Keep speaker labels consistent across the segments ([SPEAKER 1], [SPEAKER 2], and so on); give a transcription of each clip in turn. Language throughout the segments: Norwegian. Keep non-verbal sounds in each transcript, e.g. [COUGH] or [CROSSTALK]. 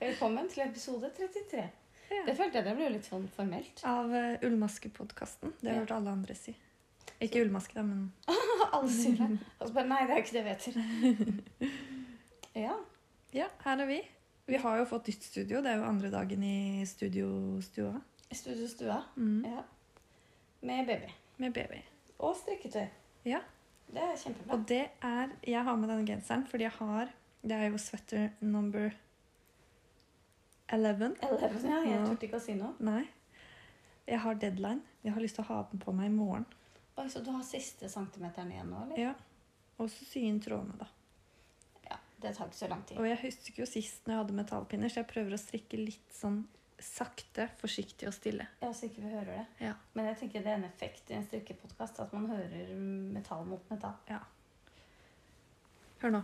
[SPEAKER 1] Velkommen til episode 33.
[SPEAKER 2] Ja.
[SPEAKER 1] Det følte jeg det ble jo litt sånn formelt.
[SPEAKER 2] Av uh, Ullmaskepodkasten. Det har jeg hørt alle andre si. Ikke ullmaske, da, men
[SPEAKER 1] Alle sier det. Og så Altså, bare Nei, det er jo ikke det vi
[SPEAKER 2] [LAUGHS]
[SPEAKER 1] heter. Ja.
[SPEAKER 2] Ja, her er vi. Vi har jo fått nytt studio. Det er jo andre dagen i studiostua.
[SPEAKER 1] Studio Stua.
[SPEAKER 2] Mm.
[SPEAKER 1] Ja. Med baby.
[SPEAKER 2] Med baby.
[SPEAKER 1] Og strikketøy.
[SPEAKER 2] Ja.
[SPEAKER 1] Det er kjempebra.
[SPEAKER 2] Og det er Jeg har med denne genseren fordi jeg har Det er jo sweater number 11.
[SPEAKER 1] Eleven, ja. Jeg
[SPEAKER 2] Ja.
[SPEAKER 1] turte ikke å si noe.
[SPEAKER 2] Nei. Jeg har deadline. Jeg har lyst til å ha den på meg i morgen.
[SPEAKER 1] Oi, så du har siste centimeteren igjen nå, eller?
[SPEAKER 2] Ja. Og så sy inn trådene, da.
[SPEAKER 1] Ja. Det tar ikke så lang tid.
[SPEAKER 2] Og jeg husker jo sist når jeg hadde metallpinner, så jeg prøver å strikke litt sånn sakte, forsiktig og stille.
[SPEAKER 1] Ja, så ikke vi hører det.
[SPEAKER 2] Ja.
[SPEAKER 1] Men jeg tenker det er en effekt i en strikkepodkast at man hører metall mot metall.
[SPEAKER 2] Hør nå.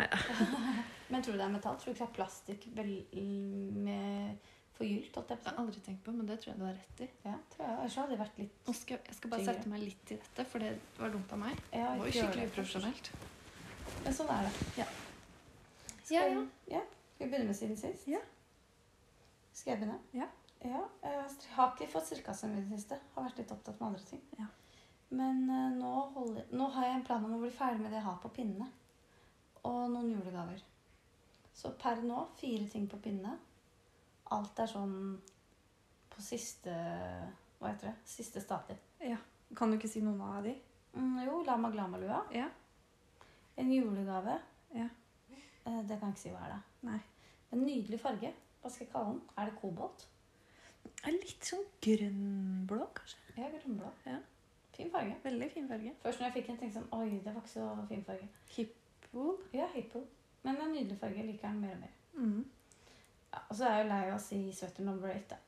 [SPEAKER 1] Men tror du det er metall? Tror du ikke det er plastikk vel- med forgylt? holdt jeg
[SPEAKER 3] Jeg
[SPEAKER 1] på å
[SPEAKER 3] har
[SPEAKER 1] si?
[SPEAKER 3] aldri tenkt på, men det tror jeg du har rett i.
[SPEAKER 1] Ja, tror jeg. Ellers hadde det vært litt
[SPEAKER 3] Nå skal, jeg skal bare
[SPEAKER 1] Tyngre.
[SPEAKER 3] sette meg litt til dette, for det var dumt av meg.
[SPEAKER 1] Ja,
[SPEAKER 3] Det var jo
[SPEAKER 1] ikke gjør
[SPEAKER 3] skikkelig
[SPEAKER 1] det.
[SPEAKER 3] uprofesjonelt.
[SPEAKER 1] Men sånn er det.
[SPEAKER 3] Ja.
[SPEAKER 1] Skal,
[SPEAKER 3] Ja, ja.
[SPEAKER 1] Skal vi begynne med siden sist?
[SPEAKER 2] Ja.
[SPEAKER 1] Skal jeg begynne?
[SPEAKER 2] Ja.
[SPEAKER 1] ja jeg har ikke fått strikka så mye i det siste. Har vært litt opptatt med andre ting.
[SPEAKER 2] Ja.
[SPEAKER 1] Men eh, nå, holder, nå har jeg en plan om å bli ferdig med det jeg har på pinnene. Og noen julegaver. Så per nå fire ting på pinne. Alt er sånn på siste Hva heter det? Siste stadiet.
[SPEAKER 2] Kan du ikke si noen av de?
[SPEAKER 1] Mm, jo, Lama Glamalua.
[SPEAKER 2] Ja.
[SPEAKER 1] En julegave.
[SPEAKER 2] Ja.
[SPEAKER 1] Eh, det kan jeg ikke si hva er, da.
[SPEAKER 2] Nei.
[SPEAKER 1] En nydelig farge. Hva skal jeg kalle den? Er det kobolt?
[SPEAKER 2] Er litt sånn grønnblå, kanskje.
[SPEAKER 1] Ja, grønnblå.
[SPEAKER 2] Ja.
[SPEAKER 1] Fin farge.
[SPEAKER 2] Veldig fin farge.
[SPEAKER 1] Først når jeg fikk den, tenkte jeg sånn Oi, det var ikke så fin farge.
[SPEAKER 2] Cool.
[SPEAKER 1] Ja, hippo. Men en nydelig farge. Jeg liker den mer og mer.
[SPEAKER 2] Mm.
[SPEAKER 1] Ja, og så er jeg jo lei av å si sweater number eight, da.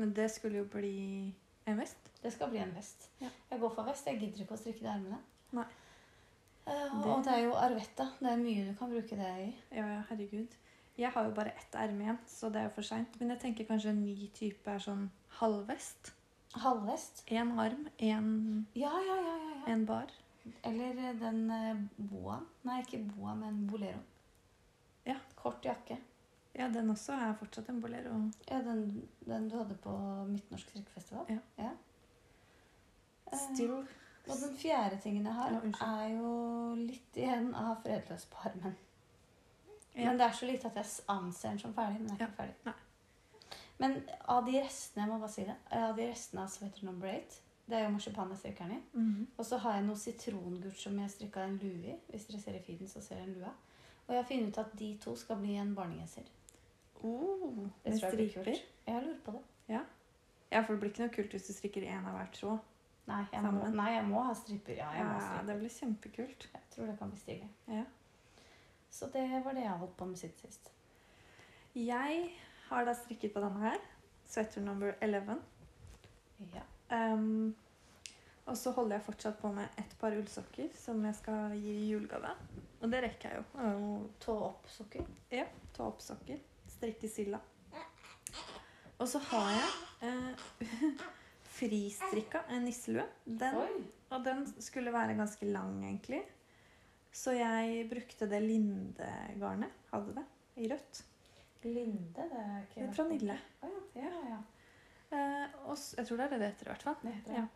[SPEAKER 2] Men det skulle jo bli en vest.
[SPEAKER 1] Det skal bli en vest.
[SPEAKER 2] Ja.
[SPEAKER 1] Jeg går for vest. Jeg gidder ikke å strikke det i ermene.
[SPEAKER 2] Nei.
[SPEAKER 1] Eh,
[SPEAKER 2] Det-
[SPEAKER 1] Og det er jo arvetta. Det er mye du kan bruke det i.
[SPEAKER 2] Ja, ja, herregud. Jeg har jo bare ett erme igjen, så det er jo for seint. Men jeg tenker kanskje en ny type er sånn halvvest.
[SPEAKER 1] Halvvest.
[SPEAKER 2] Én arm, én
[SPEAKER 1] Ja, ja, ja. ja, ja.
[SPEAKER 2] én bar.
[SPEAKER 1] Eller eh, den eh, boa. Nei, ikke boa, men bolero.
[SPEAKER 2] Ja.
[SPEAKER 1] Kort jakke.
[SPEAKER 2] Ja, den også er fortsatt en bolero.
[SPEAKER 1] Ja, den, den du hadde på Midtnorsk strikkefestival.
[SPEAKER 2] Ja.
[SPEAKER 1] Eh,
[SPEAKER 2] Still.
[SPEAKER 1] og den fjerde tingen jeg har,
[SPEAKER 2] Ja, unnskyld.
[SPEAKER 1] er jo litt igjen av fredløs på armen.
[SPEAKER 2] Ja.
[SPEAKER 1] Men det er så lite at jeg s- anser den som ferdig, men den er ikke ferdig.
[SPEAKER 2] nei.
[SPEAKER 1] Men av de restene, jeg må bare si det, av de restene av sweater number eight, det er jo marsipan jeg strikker den i,
[SPEAKER 2] Mhm.
[SPEAKER 1] Og så har jeg noe sitrongult som jeg strikka en lue i. Hvis dere ser i feeden, så ser dere en lue. Og jeg har funnet ut at de to skal bli en barnegenser.
[SPEAKER 2] Oh,
[SPEAKER 1] Det
[SPEAKER 2] med
[SPEAKER 1] tror jeg blir
[SPEAKER 2] striper.
[SPEAKER 1] kult. Jeg lurer på det.
[SPEAKER 2] Ja, for det blir ikke noe kult hvis du strikker én av hver tråd.
[SPEAKER 1] Nei jeg, må,
[SPEAKER 2] Sammen.
[SPEAKER 1] nei, jeg må ha striper. Ja, jeg
[SPEAKER 2] Ja,
[SPEAKER 1] må ha
[SPEAKER 2] det
[SPEAKER 1] striper.
[SPEAKER 2] blir kjempekult.
[SPEAKER 1] Jeg tror det kan bli stilig.
[SPEAKER 2] Ja.
[SPEAKER 1] Så det var det jeg holdt på med siden sist.
[SPEAKER 2] Jeg har da strikket på denne her. Sweater number 11.
[SPEAKER 1] Ja.
[SPEAKER 2] Um, og så holder jeg fortsatt på med et par ullsokker som jeg skal gi i julegave. Og det rekker jeg jo. Jeg har jo
[SPEAKER 1] Tå opp sokker.
[SPEAKER 2] Ta opp sokker, strikke silla. Og så har jeg eh, [LAUGHS] fristrikka en nisselue. Den,
[SPEAKER 1] Oi!
[SPEAKER 2] og den skulle være ganske lang, egentlig. Så jeg brukte det lindegarnet. Hadde det i rødt.
[SPEAKER 1] Linde, det er ikke
[SPEAKER 2] Det er
[SPEAKER 1] verst.
[SPEAKER 2] fra Nille.
[SPEAKER 1] Å ja, ja, ja.
[SPEAKER 2] Eh, og s- jeg tror det er det det heter, i hvert fall.
[SPEAKER 1] Det heter det.
[SPEAKER 2] Ja.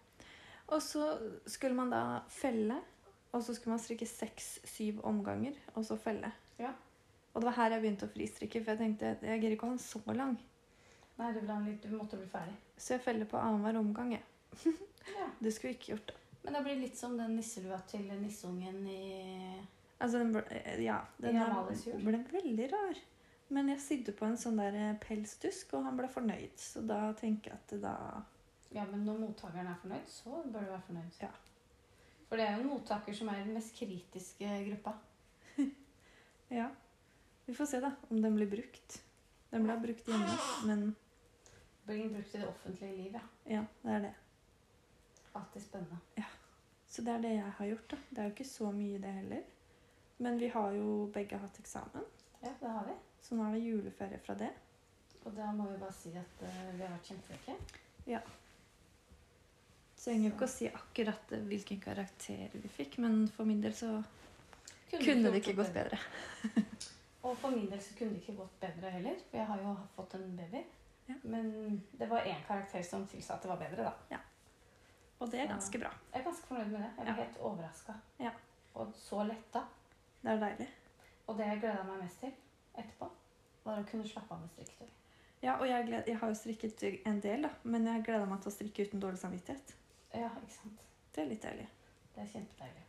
[SPEAKER 2] Og så skulle man da felle, og så skulle man strikke seks-syv omganger, og så felle.
[SPEAKER 1] Ja.
[SPEAKER 2] Og det var her jeg begynte å fristrikke, for jeg tenkte jeg gidder ikke å ha den så lang.
[SPEAKER 1] Nei, du, ble litt, du måtte bli ferdig.
[SPEAKER 2] Så jeg feller på annenhver omgang, jeg.
[SPEAKER 1] Ja.
[SPEAKER 2] Det skulle jeg ikke gjort.
[SPEAKER 1] Men det blir litt som den nisselua til nisseungen i
[SPEAKER 2] Altså, den ble, eh, ja, den
[SPEAKER 1] I
[SPEAKER 2] her
[SPEAKER 1] Amalies jul.
[SPEAKER 2] ble veldig rar. Men jeg sydde på en sånn der eh, pelsdusk, og han ble fornøyd. Så da tenker jeg at da
[SPEAKER 1] Ja, men når mottakeren er fornøyd, så bør du være fornøyd.
[SPEAKER 2] Ja.
[SPEAKER 1] For det er jo en mottaker som er den mest kritiske gruppa.
[SPEAKER 2] Ja. Vi får se, da, om den blir brukt. Den ble brukt hjemme, men
[SPEAKER 1] Blir brukt i det offentlige liv, ja.
[SPEAKER 2] ja, det er det.
[SPEAKER 1] Alltid spennende.
[SPEAKER 2] Så det er det jeg har gjort, da. Det er jo ikke så mye, det heller. Men vi har jo begge hatt eksamen,
[SPEAKER 1] Ja, det har vi.
[SPEAKER 2] så nå er det juleferie fra det.
[SPEAKER 1] Og da må vi bare si at eh, vi har vært kjempeflinke.
[SPEAKER 2] Så jeg trenger jo ikke å si akkurat eh, hvilken karakter vi fikk, men for min del så kunne
[SPEAKER 1] vi
[SPEAKER 2] det ikke
[SPEAKER 1] gjort
[SPEAKER 2] gått bedre.
[SPEAKER 1] Og for min del så kunne det ikke gått bedre heller, for jeg har jo fått en baby.
[SPEAKER 2] Ja.
[SPEAKER 1] Men det var én karakter som tilsa at det var bedre, da.
[SPEAKER 2] Og det er ganske bra.
[SPEAKER 1] Jeg er ganske fornøyd med det. Jeg ble
[SPEAKER 2] Ja.
[SPEAKER 1] helt overraska.
[SPEAKER 2] Ja.
[SPEAKER 1] Og så letta.
[SPEAKER 2] Det er deilig.
[SPEAKER 1] Og det jeg gleda meg mest til etterpå, var å kunne slappe av med strikketøy.
[SPEAKER 2] Ja, og jeg, gled, jeg har jo strikket en del, da, men jeg gleder meg til å strikke uten dårlig samvittighet.
[SPEAKER 1] Ja, ikke sant.
[SPEAKER 2] Det er litt deilig.
[SPEAKER 1] Det er kjempedeilig.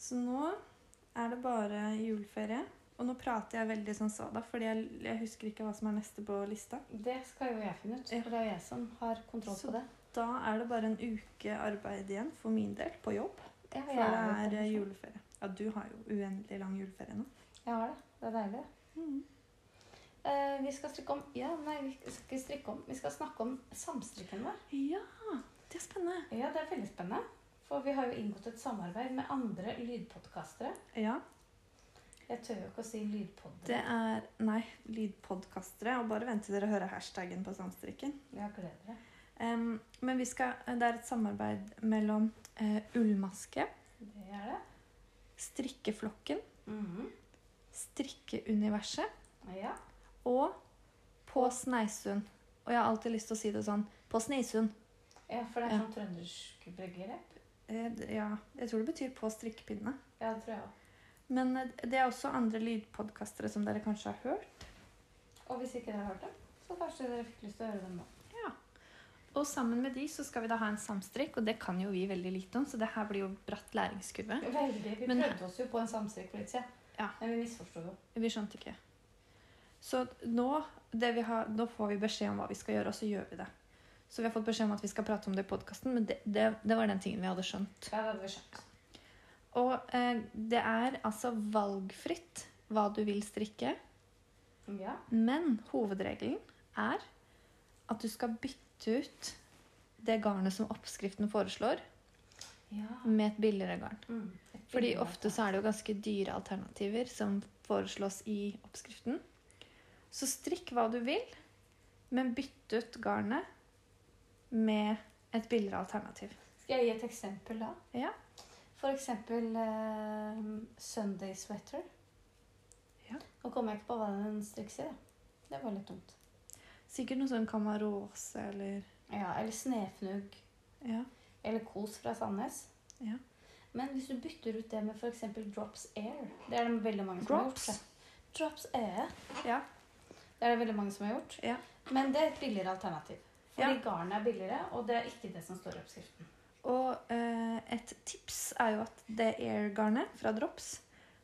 [SPEAKER 2] Så nå er det bare juleferie. Og nå prater jeg veldig sånn så da, fordi jeg, jeg husker ikke hva som er neste på lista.
[SPEAKER 1] Det skal jo jeg finne ut,
[SPEAKER 2] Ja.
[SPEAKER 1] for det er jo jeg som har kontroll
[SPEAKER 2] Så
[SPEAKER 1] på det.
[SPEAKER 2] Da er det bare en uke arbeid igjen for min del på jobb.
[SPEAKER 1] Ja,
[SPEAKER 2] For
[SPEAKER 1] jeg
[SPEAKER 2] det
[SPEAKER 1] jo
[SPEAKER 2] er eh,
[SPEAKER 1] på-
[SPEAKER 2] juleferie. Ja, du har jo uendelig lang juleferie nå.
[SPEAKER 1] Jeg har det. Det er deilig. det.
[SPEAKER 2] Mm.
[SPEAKER 1] Eh, vi skal strikke om Ja, nei, vi skal ikke strikke om. Vi skal snakke om samstrikken vår.
[SPEAKER 2] Ja, det er spennende.
[SPEAKER 1] Ja, det er veldig spennende. For vi har jo inngått et samarbeid med andre lydpodkastere.
[SPEAKER 2] Ja,
[SPEAKER 1] Jeg tør jo ikke å si lydpod.
[SPEAKER 2] det er Nei, lydpodkastere. Og bare vent til dere hører hashtaggen på samstrikken.
[SPEAKER 1] Ja, gleder dere.
[SPEAKER 2] Em, men vi skal, eh, det er et samarbeid mellom eh, Ullmaske,
[SPEAKER 1] Det er det.
[SPEAKER 2] Strikkeflokken,
[SPEAKER 1] Mhm.
[SPEAKER 2] Strikkeuniverset
[SPEAKER 1] Ja.
[SPEAKER 2] og På Sneisund. Og jeg har alltid lyst til å si det sånn På Sneisund.
[SPEAKER 1] ja, for det er
[SPEAKER 2] Ja.
[SPEAKER 1] sånn trøndersk bryggeripp.
[SPEAKER 2] Eh, d- ja, jeg tror det betyr på strikkepinne.
[SPEAKER 1] Ja, det tror jeg òg.
[SPEAKER 2] Men eh, det er også andre lydpodkastere som dere kanskje har hørt.
[SPEAKER 1] Og hvis ikke dere har hørt dem, så kanskje dere fikk lyst til å høre dem nå.
[SPEAKER 3] Og sammen med de så skal vi da ha en samstrikk, og det kan jo vi veldig lite om, så det her blir jo bratt læringskurve.
[SPEAKER 1] Veldig. Vi
[SPEAKER 3] Men-
[SPEAKER 1] prøvde oss jo på en samstrikk for litt siden,
[SPEAKER 3] Ja.
[SPEAKER 1] men vi misforsto jo.
[SPEAKER 3] Vi skjønte ikke.
[SPEAKER 2] Så nå, det vi har, nå får vi beskjed om hva vi skal gjøre, og så gjør vi det. Så vi har fått beskjed om at vi skal prate om det i podkasten, men det, det, det var den tingen vi hadde skjønt.
[SPEAKER 1] Ja, det hadde vi skjønt.
[SPEAKER 2] Og eh, det er altså valgfritt hva du vil strikke,
[SPEAKER 1] Ja.
[SPEAKER 2] men hovedregelen er at du skal bytte ut det garnet som oppskriften foreslår,
[SPEAKER 1] ja.
[SPEAKER 2] med et billigere garn.
[SPEAKER 1] Mm. Et
[SPEAKER 2] Fordi
[SPEAKER 1] bilde av
[SPEAKER 2] ofte så er det jo ganske dyre alternativer som foreslås i oppskriften. Så strikk hva du vil, men bytt ut garnet med et billigere alternativ.
[SPEAKER 1] Skal jeg gi et eksempel da?
[SPEAKER 2] Ja.
[SPEAKER 1] For eksempel eh, Sunday sweater.
[SPEAKER 2] Ja.
[SPEAKER 1] Nå kommer jeg ikke på hva den strikkes i. da. Det var litt dumt.
[SPEAKER 2] Sikkert noe sånn kamarose eller
[SPEAKER 1] Ja, eller snefnugg.
[SPEAKER 2] Ja.
[SPEAKER 1] Eller kos fra Sandnes.
[SPEAKER 2] Ja.
[SPEAKER 1] Men hvis du bytter ut det med for eksempel Drops Air Det er det veldig mange som
[SPEAKER 2] Drops?
[SPEAKER 1] har gjort. det. Drops Air.
[SPEAKER 2] Ja.
[SPEAKER 1] Det er det veldig mange som har gjort.
[SPEAKER 2] Ja.
[SPEAKER 1] Men det er et billigere alternativ. Fordi
[SPEAKER 2] Ja.
[SPEAKER 1] garnet er billigere, og det er ikke det som står i oppskriften.
[SPEAKER 2] Og eh, et tips er jo at det air-garnet fra Drops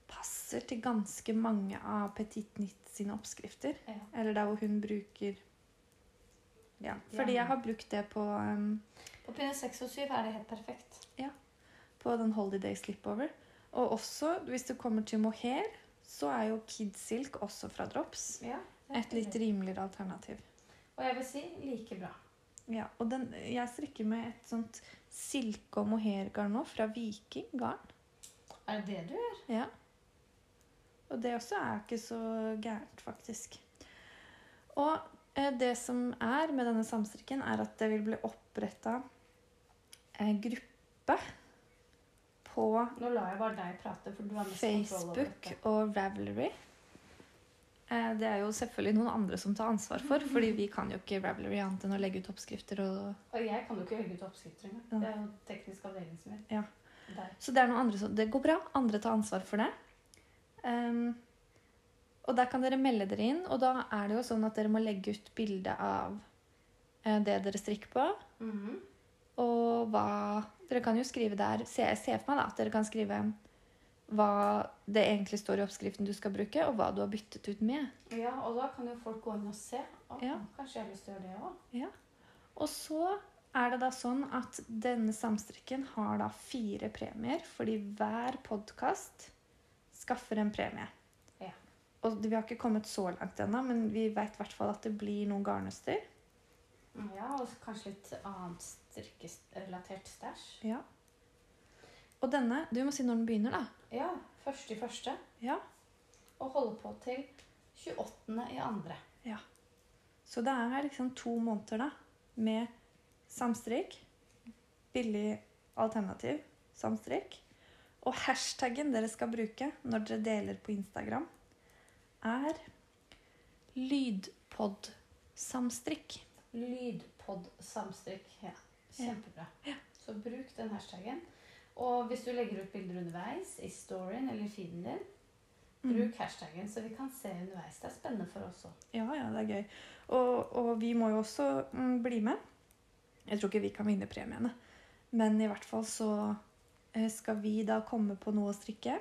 [SPEAKER 2] passer til ganske mange av Petit Nytt sine oppskrifter.
[SPEAKER 1] Ja.
[SPEAKER 2] Eller der hvor hun bruker Ja, fordi
[SPEAKER 1] Ja.
[SPEAKER 2] jeg har brukt det på, ehm, em,
[SPEAKER 1] På pinne 6 og 7 er det helt perfekt.
[SPEAKER 2] på den Holiday Slipover. Og også, hvis det kommer til mohair, så er jo Kidsilk også fra Drops
[SPEAKER 1] Ja, det er
[SPEAKER 2] et litt
[SPEAKER 1] billig.
[SPEAKER 2] rimeligere alternativ.
[SPEAKER 1] Og jeg vil si like bra.
[SPEAKER 2] Ja, og den, jeg strikker med et sånt silke- og mohairgarn nå, fra Viking garn.
[SPEAKER 1] Er det det du gjør?
[SPEAKER 2] Ja. Og det også er ikke så gærent, faktisk. Og eh, det som er med denne samstrikken, er at det vil bli oppretta en gruppe på
[SPEAKER 1] Nå lar jeg bare deg prate, for du har mest kontroll over
[SPEAKER 2] Facebook
[SPEAKER 1] dette.
[SPEAKER 2] og Ravelry. Eh, Det er jo selvfølgelig noen andre som tar ansvar for, fordi vi kan jo ikke Ravelry annet enn å legge ut oppskrifter og
[SPEAKER 1] Og jeg kan jo ikke legge ut oppskrifter engang.
[SPEAKER 2] Ja.
[SPEAKER 1] Det er jo teknisk avdeling som gjør.
[SPEAKER 2] Ja.
[SPEAKER 1] Der.
[SPEAKER 2] Så det er noen andre som Det går bra. Andre tar ansvar for det. Ehm, og der kan dere melde dere inn. Og da er det jo sånn at dere må legge ut bilde av eh, det dere strikker på,
[SPEAKER 1] Mhm.
[SPEAKER 2] og hva Dere kan jo skrive der se, Jeg ser for meg da, at dere kan skrive hva det egentlig står i oppskriften du skal bruke, og hva du har byttet ut med.
[SPEAKER 1] Ja, og da kan jo folk gå inn og se. Å,
[SPEAKER 2] Ja.
[SPEAKER 1] Kanskje jeg har lyst til å gjøre det òg.
[SPEAKER 2] Og så er det da sånn at denne samstrikken har da fire premier, fordi hver podkast skaffer en premie.
[SPEAKER 1] Ja.
[SPEAKER 2] Og vi har ikke kommet så langt ennå, men vi veit i hvert fall at det blir noen garnnøster.
[SPEAKER 1] Mm, Ja, og kanskje litt annet strikkerelatert stæsj.
[SPEAKER 2] Ja. Og denne Du må si når den begynner, da.
[SPEAKER 1] Ja, første i første.
[SPEAKER 2] Ja.
[SPEAKER 1] Og holde på til 28. i andre.
[SPEAKER 2] Så det er liksom to måneder, da, med samstrikk, billig alternativ, samstrikk, og hashtaggen dere skal bruke når dere deler på Instagram, er lydpod-samstrikk.
[SPEAKER 1] Lydpod-samstrykk. Ja. Kjempebra. Så bruk den hashtagen. Og hvis du legger ut bilder underveis i storyen eller i feeden din,
[SPEAKER 2] Mm.
[SPEAKER 1] bruk hashtagen, så vi kan se underveis. Det er spennende for oss òg.
[SPEAKER 2] Ja, ja, det er gøy. Og, og vi må jo også mm, bli med. Jeg tror ikke vi kan vinne premiene, men i hvert fall så eh, skal vi da komme på noe å strikke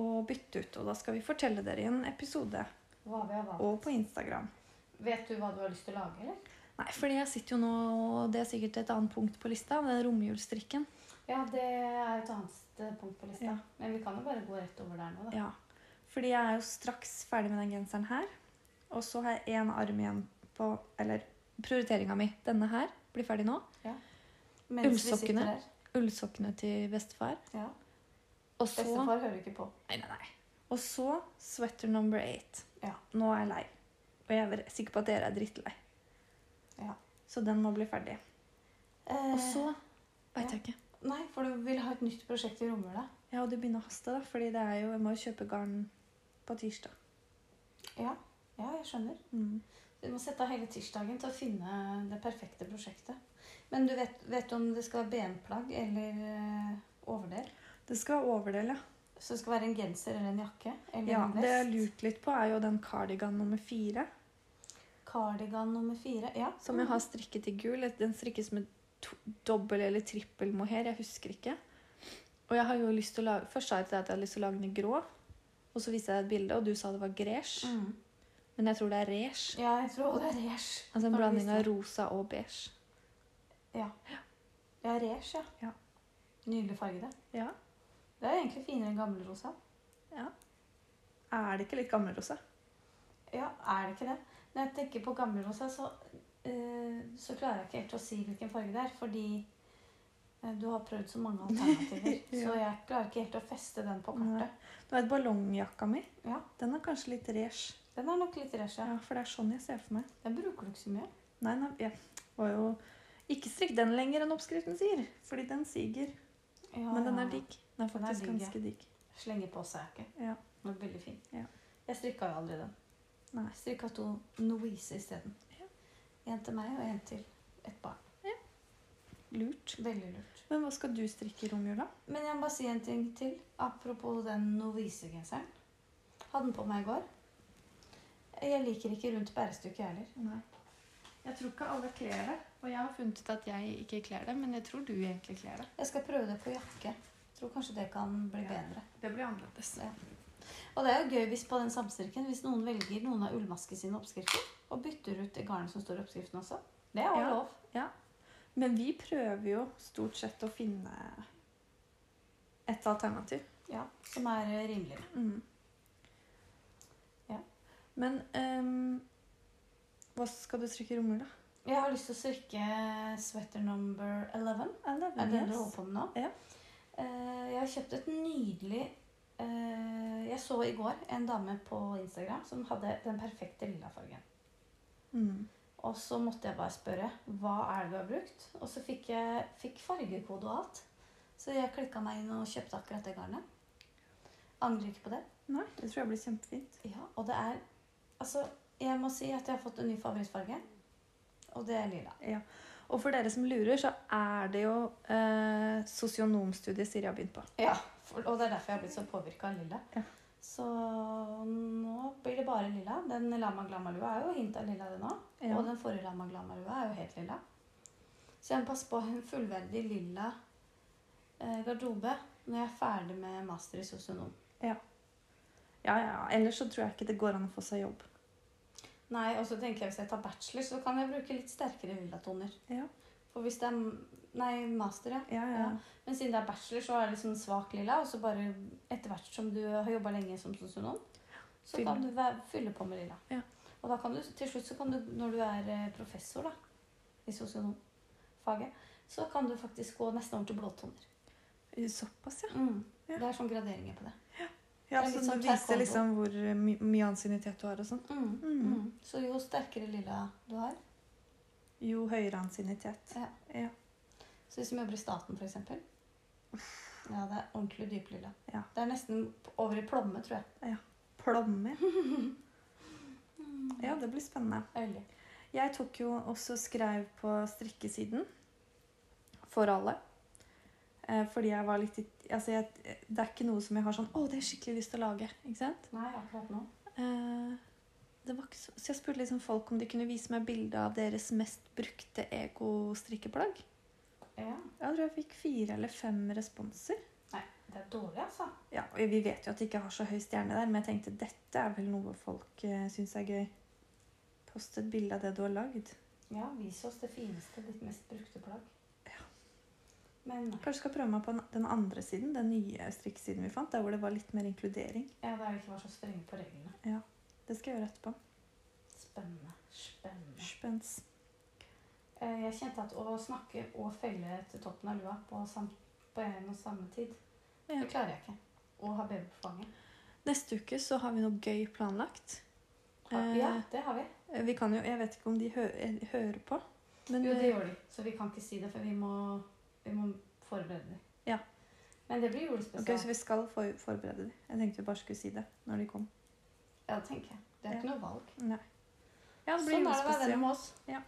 [SPEAKER 2] og bytte ut. Og da skal vi fortelle dere i en episode
[SPEAKER 1] Hva vi har valgt.
[SPEAKER 2] og på Instagram.
[SPEAKER 1] Vet du hva du har lyst til å lage, eller?
[SPEAKER 2] Nei, fordi jeg sitter jo nå, og det er sikkert et annet punkt på lista, den romjulsstrikken.
[SPEAKER 1] Ja, det er et annet eh, punkt på lista.
[SPEAKER 2] Ja.
[SPEAKER 1] Men vi kan jo bare gå rett over der nå, da.
[SPEAKER 2] Ja, fordi jeg er jo straks ferdig med den genseren her. Og så har jeg én arm igjen på Eller prioriteringa mi. Denne her blir ferdig nå.
[SPEAKER 1] Mens vi sitter
[SPEAKER 2] Ullsokkene.
[SPEAKER 1] her.
[SPEAKER 2] Ullsokkene til bestefar.
[SPEAKER 1] Ja.
[SPEAKER 2] Og så
[SPEAKER 1] Bestefar hører ikke på.
[SPEAKER 2] Nei, nei, nei. Og så sweater number eight.
[SPEAKER 1] Ja.
[SPEAKER 2] Nå er jeg lei. Og jeg er sikker på at dere er drittlei.
[SPEAKER 1] Ja.
[SPEAKER 2] Så den må bli ferdig.
[SPEAKER 1] Eh,
[SPEAKER 2] Og så veit
[SPEAKER 1] ja.
[SPEAKER 2] jeg ikke.
[SPEAKER 1] Nei, for du vil ha et nytt prosjekt i romjula.
[SPEAKER 2] Ja, og det begynner å haste, da. Fordi det er jo, jeg må jo kjøpe garn på tirsdag.
[SPEAKER 1] Ja. ja, jeg skjønner.
[SPEAKER 2] Mm.
[SPEAKER 1] Du må sette av hele tirsdagen til å finne det perfekte prosjektet. Men du vet, vet du om det skal være benplagg eller eh, overdel?
[SPEAKER 2] Det skal være overdel, ja.
[SPEAKER 1] Så det skal være en genser eller en jakke? Eller
[SPEAKER 2] ja.
[SPEAKER 1] en
[SPEAKER 2] Det
[SPEAKER 1] vest?
[SPEAKER 2] jeg har lurt litt på, er jo den cardigan nummer fire.
[SPEAKER 1] Cardigan nummer fire. Ja.
[SPEAKER 2] Som jeg har strikket i gul. Den strikkes med to, dobbel eller trippel mohair. Jeg husker ikke. Og jeg har jo lyst til å lage, Først sa jeg til deg at jeg hadde lyst til å lage den i grå. Og så viste jeg deg et bilde, og du sa det var gresj.
[SPEAKER 1] Mm.
[SPEAKER 2] Men jeg tror det er resj.
[SPEAKER 1] Ja, jeg tror det er resj.
[SPEAKER 2] Altså en
[SPEAKER 1] Har du
[SPEAKER 2] blanding
[SPEAKER 1] lyst
[SPEAKER 2] av
[SPEAKER 1] til?
[SPEAKER 2] rosa og beige.
[SPEAKER 1] Ja, resj, ja.
[SPEAKER 2] Ja.
[SPEAKER 1] Nydelig farge, det.
[SPEAKER 2] Ja.
[SPEAKER 1] Det er egentlig finere enn gamlerosa.
[SPEAKER 2] Er det ikke litt gammel rosa?
[SPEAKER 1] Ja, er det ikke det? Når jeg tenker på gamlerosa, så, eh, så klarer jeg ikke helt å si hvilken farge det er, fordi eh, du har prøvd så mange alternativer,
[SPEAKER 2] [LAUGHS] Ja.
[SPEAKER 1] så jeg klarer ikke helt å feste den på
[SPEAKER 2] Nei.
[SPEAKER 1] kartet.
[SPEAKER 2] Du vet ballongjakka mi?
[SPEAKER 1] Ja.
[SPEAKER 2] Den er kanskje litt resj.
[SPEAKER 1] Den er nok litt resj, ja.
[SPEAKER 2] Ja, for det er sånn jeg ser for meg.
[SPEAKER 1] Den bruker du ikke så mye.
[SPEAKER 2] Nei, nei, jeg var jo Ikke strikk den lenger enn oppskriften sier, fordi den siger.
[SPEAKER 1] Ja,
[SPEAKER 2] Men den
[SPEAKER 1] ja, ja.
[SPEAKER 2] er digg.
[SPEAKER 1] Den
[SPEAKER 2] Ah, Den er
[SPEAKER 1] er
[SPEAKER 2] faktisk
[SPEAKER 1] digg, ja.
[SPEAKER 2] ganske digg.
[SPEAKER 1] Slenge på seg, ikke?
[SPEAKER 2] Ja.
[SPEAKER 1] Den var veldig fin.
[SPEAKER 2] Ja.
[SPEAKER 1] Jeg strikka jo aldri den.
[SPEAKER 2] Nei.
[SPEAKER 1] Jeg strikka to Noise isteden.
[SPEAKER 2] Ja.
[SPEAKER 1] En til meg og en til et barn.
[SPEAKER 2] Lurt.
[SPEAKER 1] Veldig lurt.
[SPEAKER 2] Men hva skal du strikke i romjula?
[SPEAKER 1] Men jeg må bare si en ting til. Apropos den novisegenseren. Hadde den på meg i går. Jeg liker ikke rundt bærestykket heller.
[SPEAKER 2] Nei.
[SPEAKER 3] Jeg tror ikke alle kler det. Og jeg har funnet ut at jeg ikke kler det, men jeg tror du egentlig kler det.
[SPEAKER 1] Jeg skal prøve det på jakke. Tror kanskje det kan bli
[SPEAKER 3] Ja.
[SPEAKER 1] bedre.
[SPEAKER 3] Det blir annerledes.
[SPEAKER 1] Og det er jo gøy hvis på den samstrikken hvis noen velger noen av ullmaske sine oppskrifter og bytter ut det garnet som står i oppskriften også. Det er også
[SPEAKER 2] Ja.
[SPEAKER 1] lov.
[SPEAKER 2] Men vi prøver jo stort sett å finne et alternativ.
[SPEAKER 1] Ja, som er eh, rimelig.
[SPEAKER 2] Mm.
[SPEAKER 1] Ja.
[SPEAKER 2] Men ehm, hva skal du strikke i romjula?
[SPEAKER 1] Jeg har lyst til å strikke sweater number 11. Er det den du holder på med nå?
[SPEAKER 2] Ja.
[SPEAKER 1] Eh, jeg har kjøpt et nydelig eh, Jeg så i går en dame på Instagram som hadde den perfekte lilla fargen.
[SPEAKER 2] Mm.
[SPEAKER 1] Og så måtte jeg bare spørre hva er det du har brukt. Og så fikk jeg fikk fargekode og alt. Så jeg klikka meg inn og kjøpte akkurat det garnet. Angrer ikke på det.
[SPEAKER 2] Nei, det tror jeg blir kjempefint.
[SPEAKER 1] Ja, og det er Altså, jeg må si at jeg har fått en ny favorittfarge. Og det er lilla.
[SPEAKER 2] Og for dere som lurer, så er det jo eh, sosionomstudiet Siri har begynt på.
[SPEAKER 1] Ja, for, og det er derfor jeg har blitt så påvirka av lilla.
[SPEAKER 2] Ja.
[SPEAKER 1] Så nå blir det bare lilla. Den lama glama-lua er jo hint av lilla, den òg.
[SPEAKER 2] Ja.
[SPEAKER 1] Og den forrige lama glama-lua er jo helt lilla. Så jeg må passe på en fullverdig lilla eh, garderobe når jeg er ferdig med master i sosionom.
[SPEAKER 2] Ja, ja, ja. Ellers så tror jeg ikke det går an å få seg jobb.
[SPEAKER 1] Nei, og så tenker jeg hvis jeg tar bachelor, så kan jeg bruke litt sterkere lillatoner.
[SPEAKER 2] Ja.
[SPEAKER 1] For hvis det er Nei, master, ja.
[SPEAKER 2] Ja, ja.
[SPEAKER 1] Ja. Men siden det er bachelor, så er det liksom svak lilla. Og så bare etter hvert som du har jobba lenge som sosionom, så
[SPEAKER 2] Fylle.
[SPEAKER 1] kan du væ- fylle på med lilla.
[SPEAKER 2] Ja.
[SPEAKER 1] Og da kan du, til slutt så kan du, når du er eh, professor da, i sosionomfaget, så kan du faktisk gå nesten over til blåtoner.
[SPEAKER 2] Eh, Såpass, ja. Ja.
[SPEAKER 1] Det er sånn graderinger på det.
[SPEAKER 2] Ja,
[SPEAKER 1] Det er
[SPEAKER 2] så
[SPEAKER 1] litt sånn
[SPEAKER 2] du viser
[SPEAKER 1] taekwondo.
[SPEAKER 2] liksom hvor my mye ansiennitet du har og sånn. Mm.
[SPEAKER 1] Mm. Så jo sterkere lilla du har
[SPEAKER 2] Jo høyere ansiennitet.
[SPEAKER 1] Ja.
[SPEAKER 2] Ja.
[SPEAKER 1] Så de som jobber i staten, f.eks. Ja, det er ordentlig dyplilla.
[SPEAKER 2] Ja.
[SPEAKER 1] Det er nesten over i plomme, tror jeg. [LAUGHS]
[SPEAKER 2] plomme. Ja, det blir spennende.
[SPEAKER 1] Øyelig.
[SPEAKER 2] Jeg tok jo også skrev på strikkesiden for alle. Eh, fordi jeg var litt i altså jeg, Det er ikke noe som jeg har sånn Å, det har jeg skikkelig lyst til å lage. Ikke sant?
[SPEAKER 1] Nei, akkurat nå.
[SPEAKER 2] Eh, det var ikke så, så jeg spurte liksom folk om de kunne vise meg bilde av deres mest brukte ego-strikkeplagg.
[SPEAKER 1] Ja.
[SPEAKER 2] Jeg tror jeg fikk fire eller fem responser.
[SPEAKER 1] Nei, det er dårlig, altså.
[SPEAKER 2] Ja, og Vi vet jo at det ikke har så høy stjerne der, men jeg tenkte dette er vel noe folk eh, syns er gøy. Post et bilde av det du har lagd.
[SPEAKER 1] Ja, vis oss det fineste, ditt mest brukte plagg. Men nei.
[SPEAKER 2] Kanskje skal prøve meg på den- den andre siden, den nye strikkesiden vi fant, der hvor det var litt mer inkludering.
[SPEAKER 1] Ja, da er vi ikke vært så strenge på reglene.
[SPEAKER 2] Det skal jeg gjøre etterpå.
[SPEAKER 1] Spennende. Spennende.
[SPEAKER 2] Spens.
[SPEAKER 1] Eh, Jeg kjente at å snakke og felle til toppen av lua på, sam på en og samme tid,
[SPEAKER 2] Ja.
[SPEAKER 1] det klarer jeg ikke. Og ha baby på fanget.
[SPEAKER 2] Neste uke så har vi noe gøy planlagt.
[SPEAKER 1] Ha,
[SPEAKER 2] Eh,
[SPEAKER 1] ja, det har vi.
[SPEAKER 2] Eh, Vi kan jo, jeg vet ikke om de hø eh, hører på. Men
[SPEAKER 1] Jo, det
[SPEAKER 2] eh,
[SPEAKER 1] gjør de. Så vi kan ikke si det, for vi må, vi må forberede dem.
[SPEAKER 2] Ja.
[SPEAKER 1] Men det blir
[SPEAKER 2] ok,
[SPEAKER 1] julespesial.
[SPEAKER 2] så vi skal for forberede de. Jeg tenkte vi bare skulle si det når de kom.
[SPEAKER 1] Ja, det tenker jeg. Det er
[SPEAKER 2] Ja.
[SPEAKER 1] ikke noe valg.
[SPEAKER 2] Nei. Ja, det blir
[SPEAKER 1] Sånn er det å være venn
[SPEAKER 2] julespesial.
[SPEAKER 1] med oss.
[SPEAKER 2] Ja.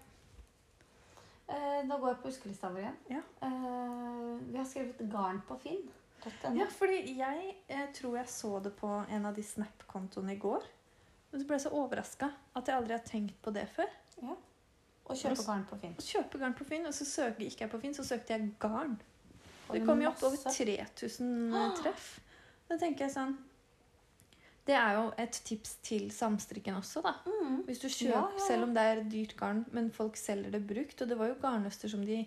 [SPEAKER 1] Eh, da går jeg på huskelista vår igjen.
[SPEAKER 2] Ja.
[SPEAKER 1] Eh, vi har skrevet garn på Finn.
[SPEAKER 2] Ja, fordi jeg eh, tror jeg så det på en av de Snap-kontoene i går. Men så ble jeg så overraska at jeg aldri har tenkt på det før.
[SPEAKER 1] Og kjøpe garn på Finn.
[SPEAKER 2] å kjøpe garn på Finn, og så søker gikk jeg på Finn, så søkte jeg garn.
[SPEAKER 1] Og er
[SPEAKER 2] Det kom jo opp over
[SPEAKER 1] masse-
[SPEAKER 2] 3000
[SPEAKER 1] [GASPS]
[SPEAKER 2] treff. Da tenker jeg sånn Det er jo et tips til samstrikken også, da.
[SPEAKER 1] Mm.
[SPEAKER 2] Hvis du kjøper,
[SPEAKER 1] Ja, ja, ja.
[SPEAKER 2] selv om det er dyrt garn, men folk selger det brukt. Og det var jo garnnøster som de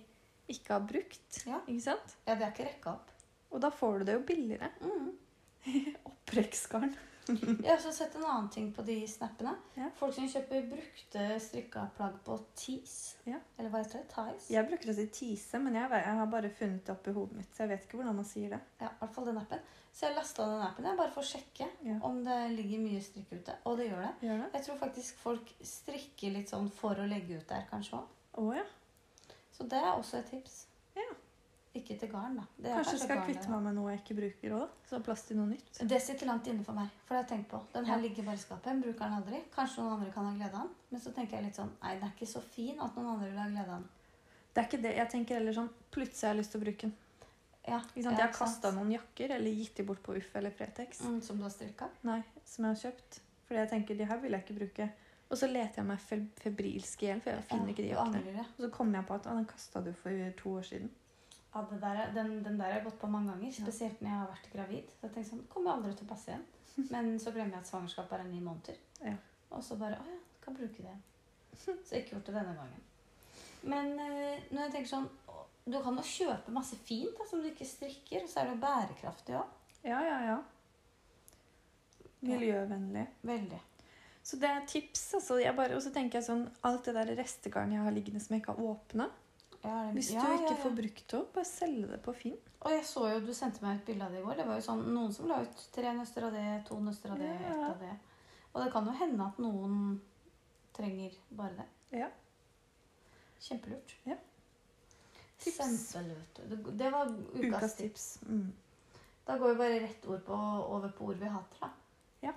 [SPEAKER 2] ikke har brukt.
[SPEAKER 1] Ja.
[SPEAKER 2] Ikke sant?
[SPEAKER 1] Ja, det er ikke rekka opp.
[SPEAKER 2] Og da får du det jo billigere.
[SPEAKER 1] Mm.
[SPEAKER 2] Opprekksgarn.
[SPEAKER 1] Jeg har også sett en annen ting på de snappene.
[SPEAKER 2] Ja.
[SPEAKER 1] Folk som kjøper brukte strikka plagg på Tees.
[SPEAKER 2] Ja.
[SPEAKER 1] Eller hva heter det? Ties?
[SPEAKER 2] Jeg bruker å si tise, men jeg, jeg har bare funnet det oppi hodet mitt. Så jeg vet ikke hvordan man sier det.
[SPEAKER 1] Ja, i hvert fall den appen. Så jeg lasta den appen jeg bare for å sjekke
[SPEAKER 2] Ja.
[SPEAKER 1] om det ligger mye strikk ute. Og det gjør det.
[SPEAKER 2] Gjør det?
[SPEAKER 1] Jeg tror faktisk folk strikker litt sånn for å legge ut der, kanskje òg.
[SPEAKER 2] Å ja.
[SPEAKER 1] Så det er også et tips.
[SPEAKER 2] Ja.
[SPEAKER 1] Ikke til garn, da. Det er
[SPEAKER 2] Kanskje jeg skal
[SPEAKER 1] garn det,
[SPEAKER 2] kvitte meg med noe jeg ikke bruker òg, da. Så det er plass til noe nytt.
[SPEAKER 1] da. Det sitter langt inne for meg. For det har jeg tenkt på. Den her
[SPEAKER 2] Ja.
[SPEAKER 1] ligger bare i skapet. Jeg bruker den aldri. Kanskje noen andre kan ha glede av den. Men så tenker jeg litt sånn Nei, den er ikke så fin at noen andre vil ha glede av den.
[SPEAKER 2] Det er ikke det. Jeg tenker heller sånn Plutselig har jeg lyst til å bruke den.
[SPEAKER 1] Ja,
[SPEAKER 2] Ikke sant?
[SPEAKER 1] ja,
[SPEAKER 2] jeg har
[SPEAKER 1] ikke sant?
[SPEAKER 2] kasta noen jakker eller gitt de bort på Uff eller Fretex.
[SPEAKER 1] Mm, som du har strikka.
[SPEAKER 2] Nei, som jeg har kjøpt. Fordi jeg tenker de her vil jeg ikke bruke. Og så leter jeg meg fe febrilsk i hjel, for jeg finner ikke de
[SPEAKER 1] Ja, du
[SPEAKER 2] jakkene.
[SPEAKER 1] angrer, ja.
[SPEAKER 2] Og så kommer jeg på at å, den kasta du for to år siden.
[SPEAKER 1] Ja, det der, er- den, den der har jeg gått på mange ganger, spesielt når jeg har vært gravid. Så jeg tenker sånn, kommer jeg aldri til å passe
[SPEAKER 2] [LAUGHS]
[SPEAKER 1] igjen. Men så glemmer jeg at svangerskap er ni måneder.
[SPEAKER 2] Ja.
[SPEAKER 1] Og så bare, å ja, kan bruke det. Så ikke gjort det denne gangen. Men eh, når jeg tenker sånn, å, du kan jo kjøpe masse fint da, som du ikke strikker, og så er det jo bærekraftig også.
[SPEAKER 2] Ja, ja, ja. Miljøvennlig.
[SPEAKER 1] Veldig.
[SPEAKER 2] Så det er tips, altså. Jeg bare, og så tenker jeg sånn Alt det der restegarnet jeg har liggende som jeg ikke har åpna
[SPEAKER 1] Ja, det-
[SPEAKER 2] Hvis
[SPEAKER 1] ja,
[SPEAKER 2] du
[SPEAKER 1] ja,
[SPEAKER 2] ikke
[SPEAKER 1] ja.
[SPEAKER 2] får brukt det opp, bare selge det på Finn.
[SPEAKER 1] Og jeg så jo, du sendte meg et bilde av det i går. Det var jo sånn, noen som la ut tre nøster av det, to nøster av det,
[SPEAKER 2] Ja.
[SPEAKER 1] ett av det. Og det kan jo hende at noen trenger bare det.
[SPEAKER 2] Ja.
[SPEAKER 1] Kjempelurt.
[SPEAKER 2] Ja. Tips.
[SPEAKER 1] Kjempelurt. Det- Det var ukas,
[SPEAKER 2] Ukas
[SPEAKER 1] tips.
[SPEAKER 2] tips. Mm.
[SPEAKER 1] Da går vi bare rett ord på, over på ord vi hater, da.
[SPEAKER 2] Ja.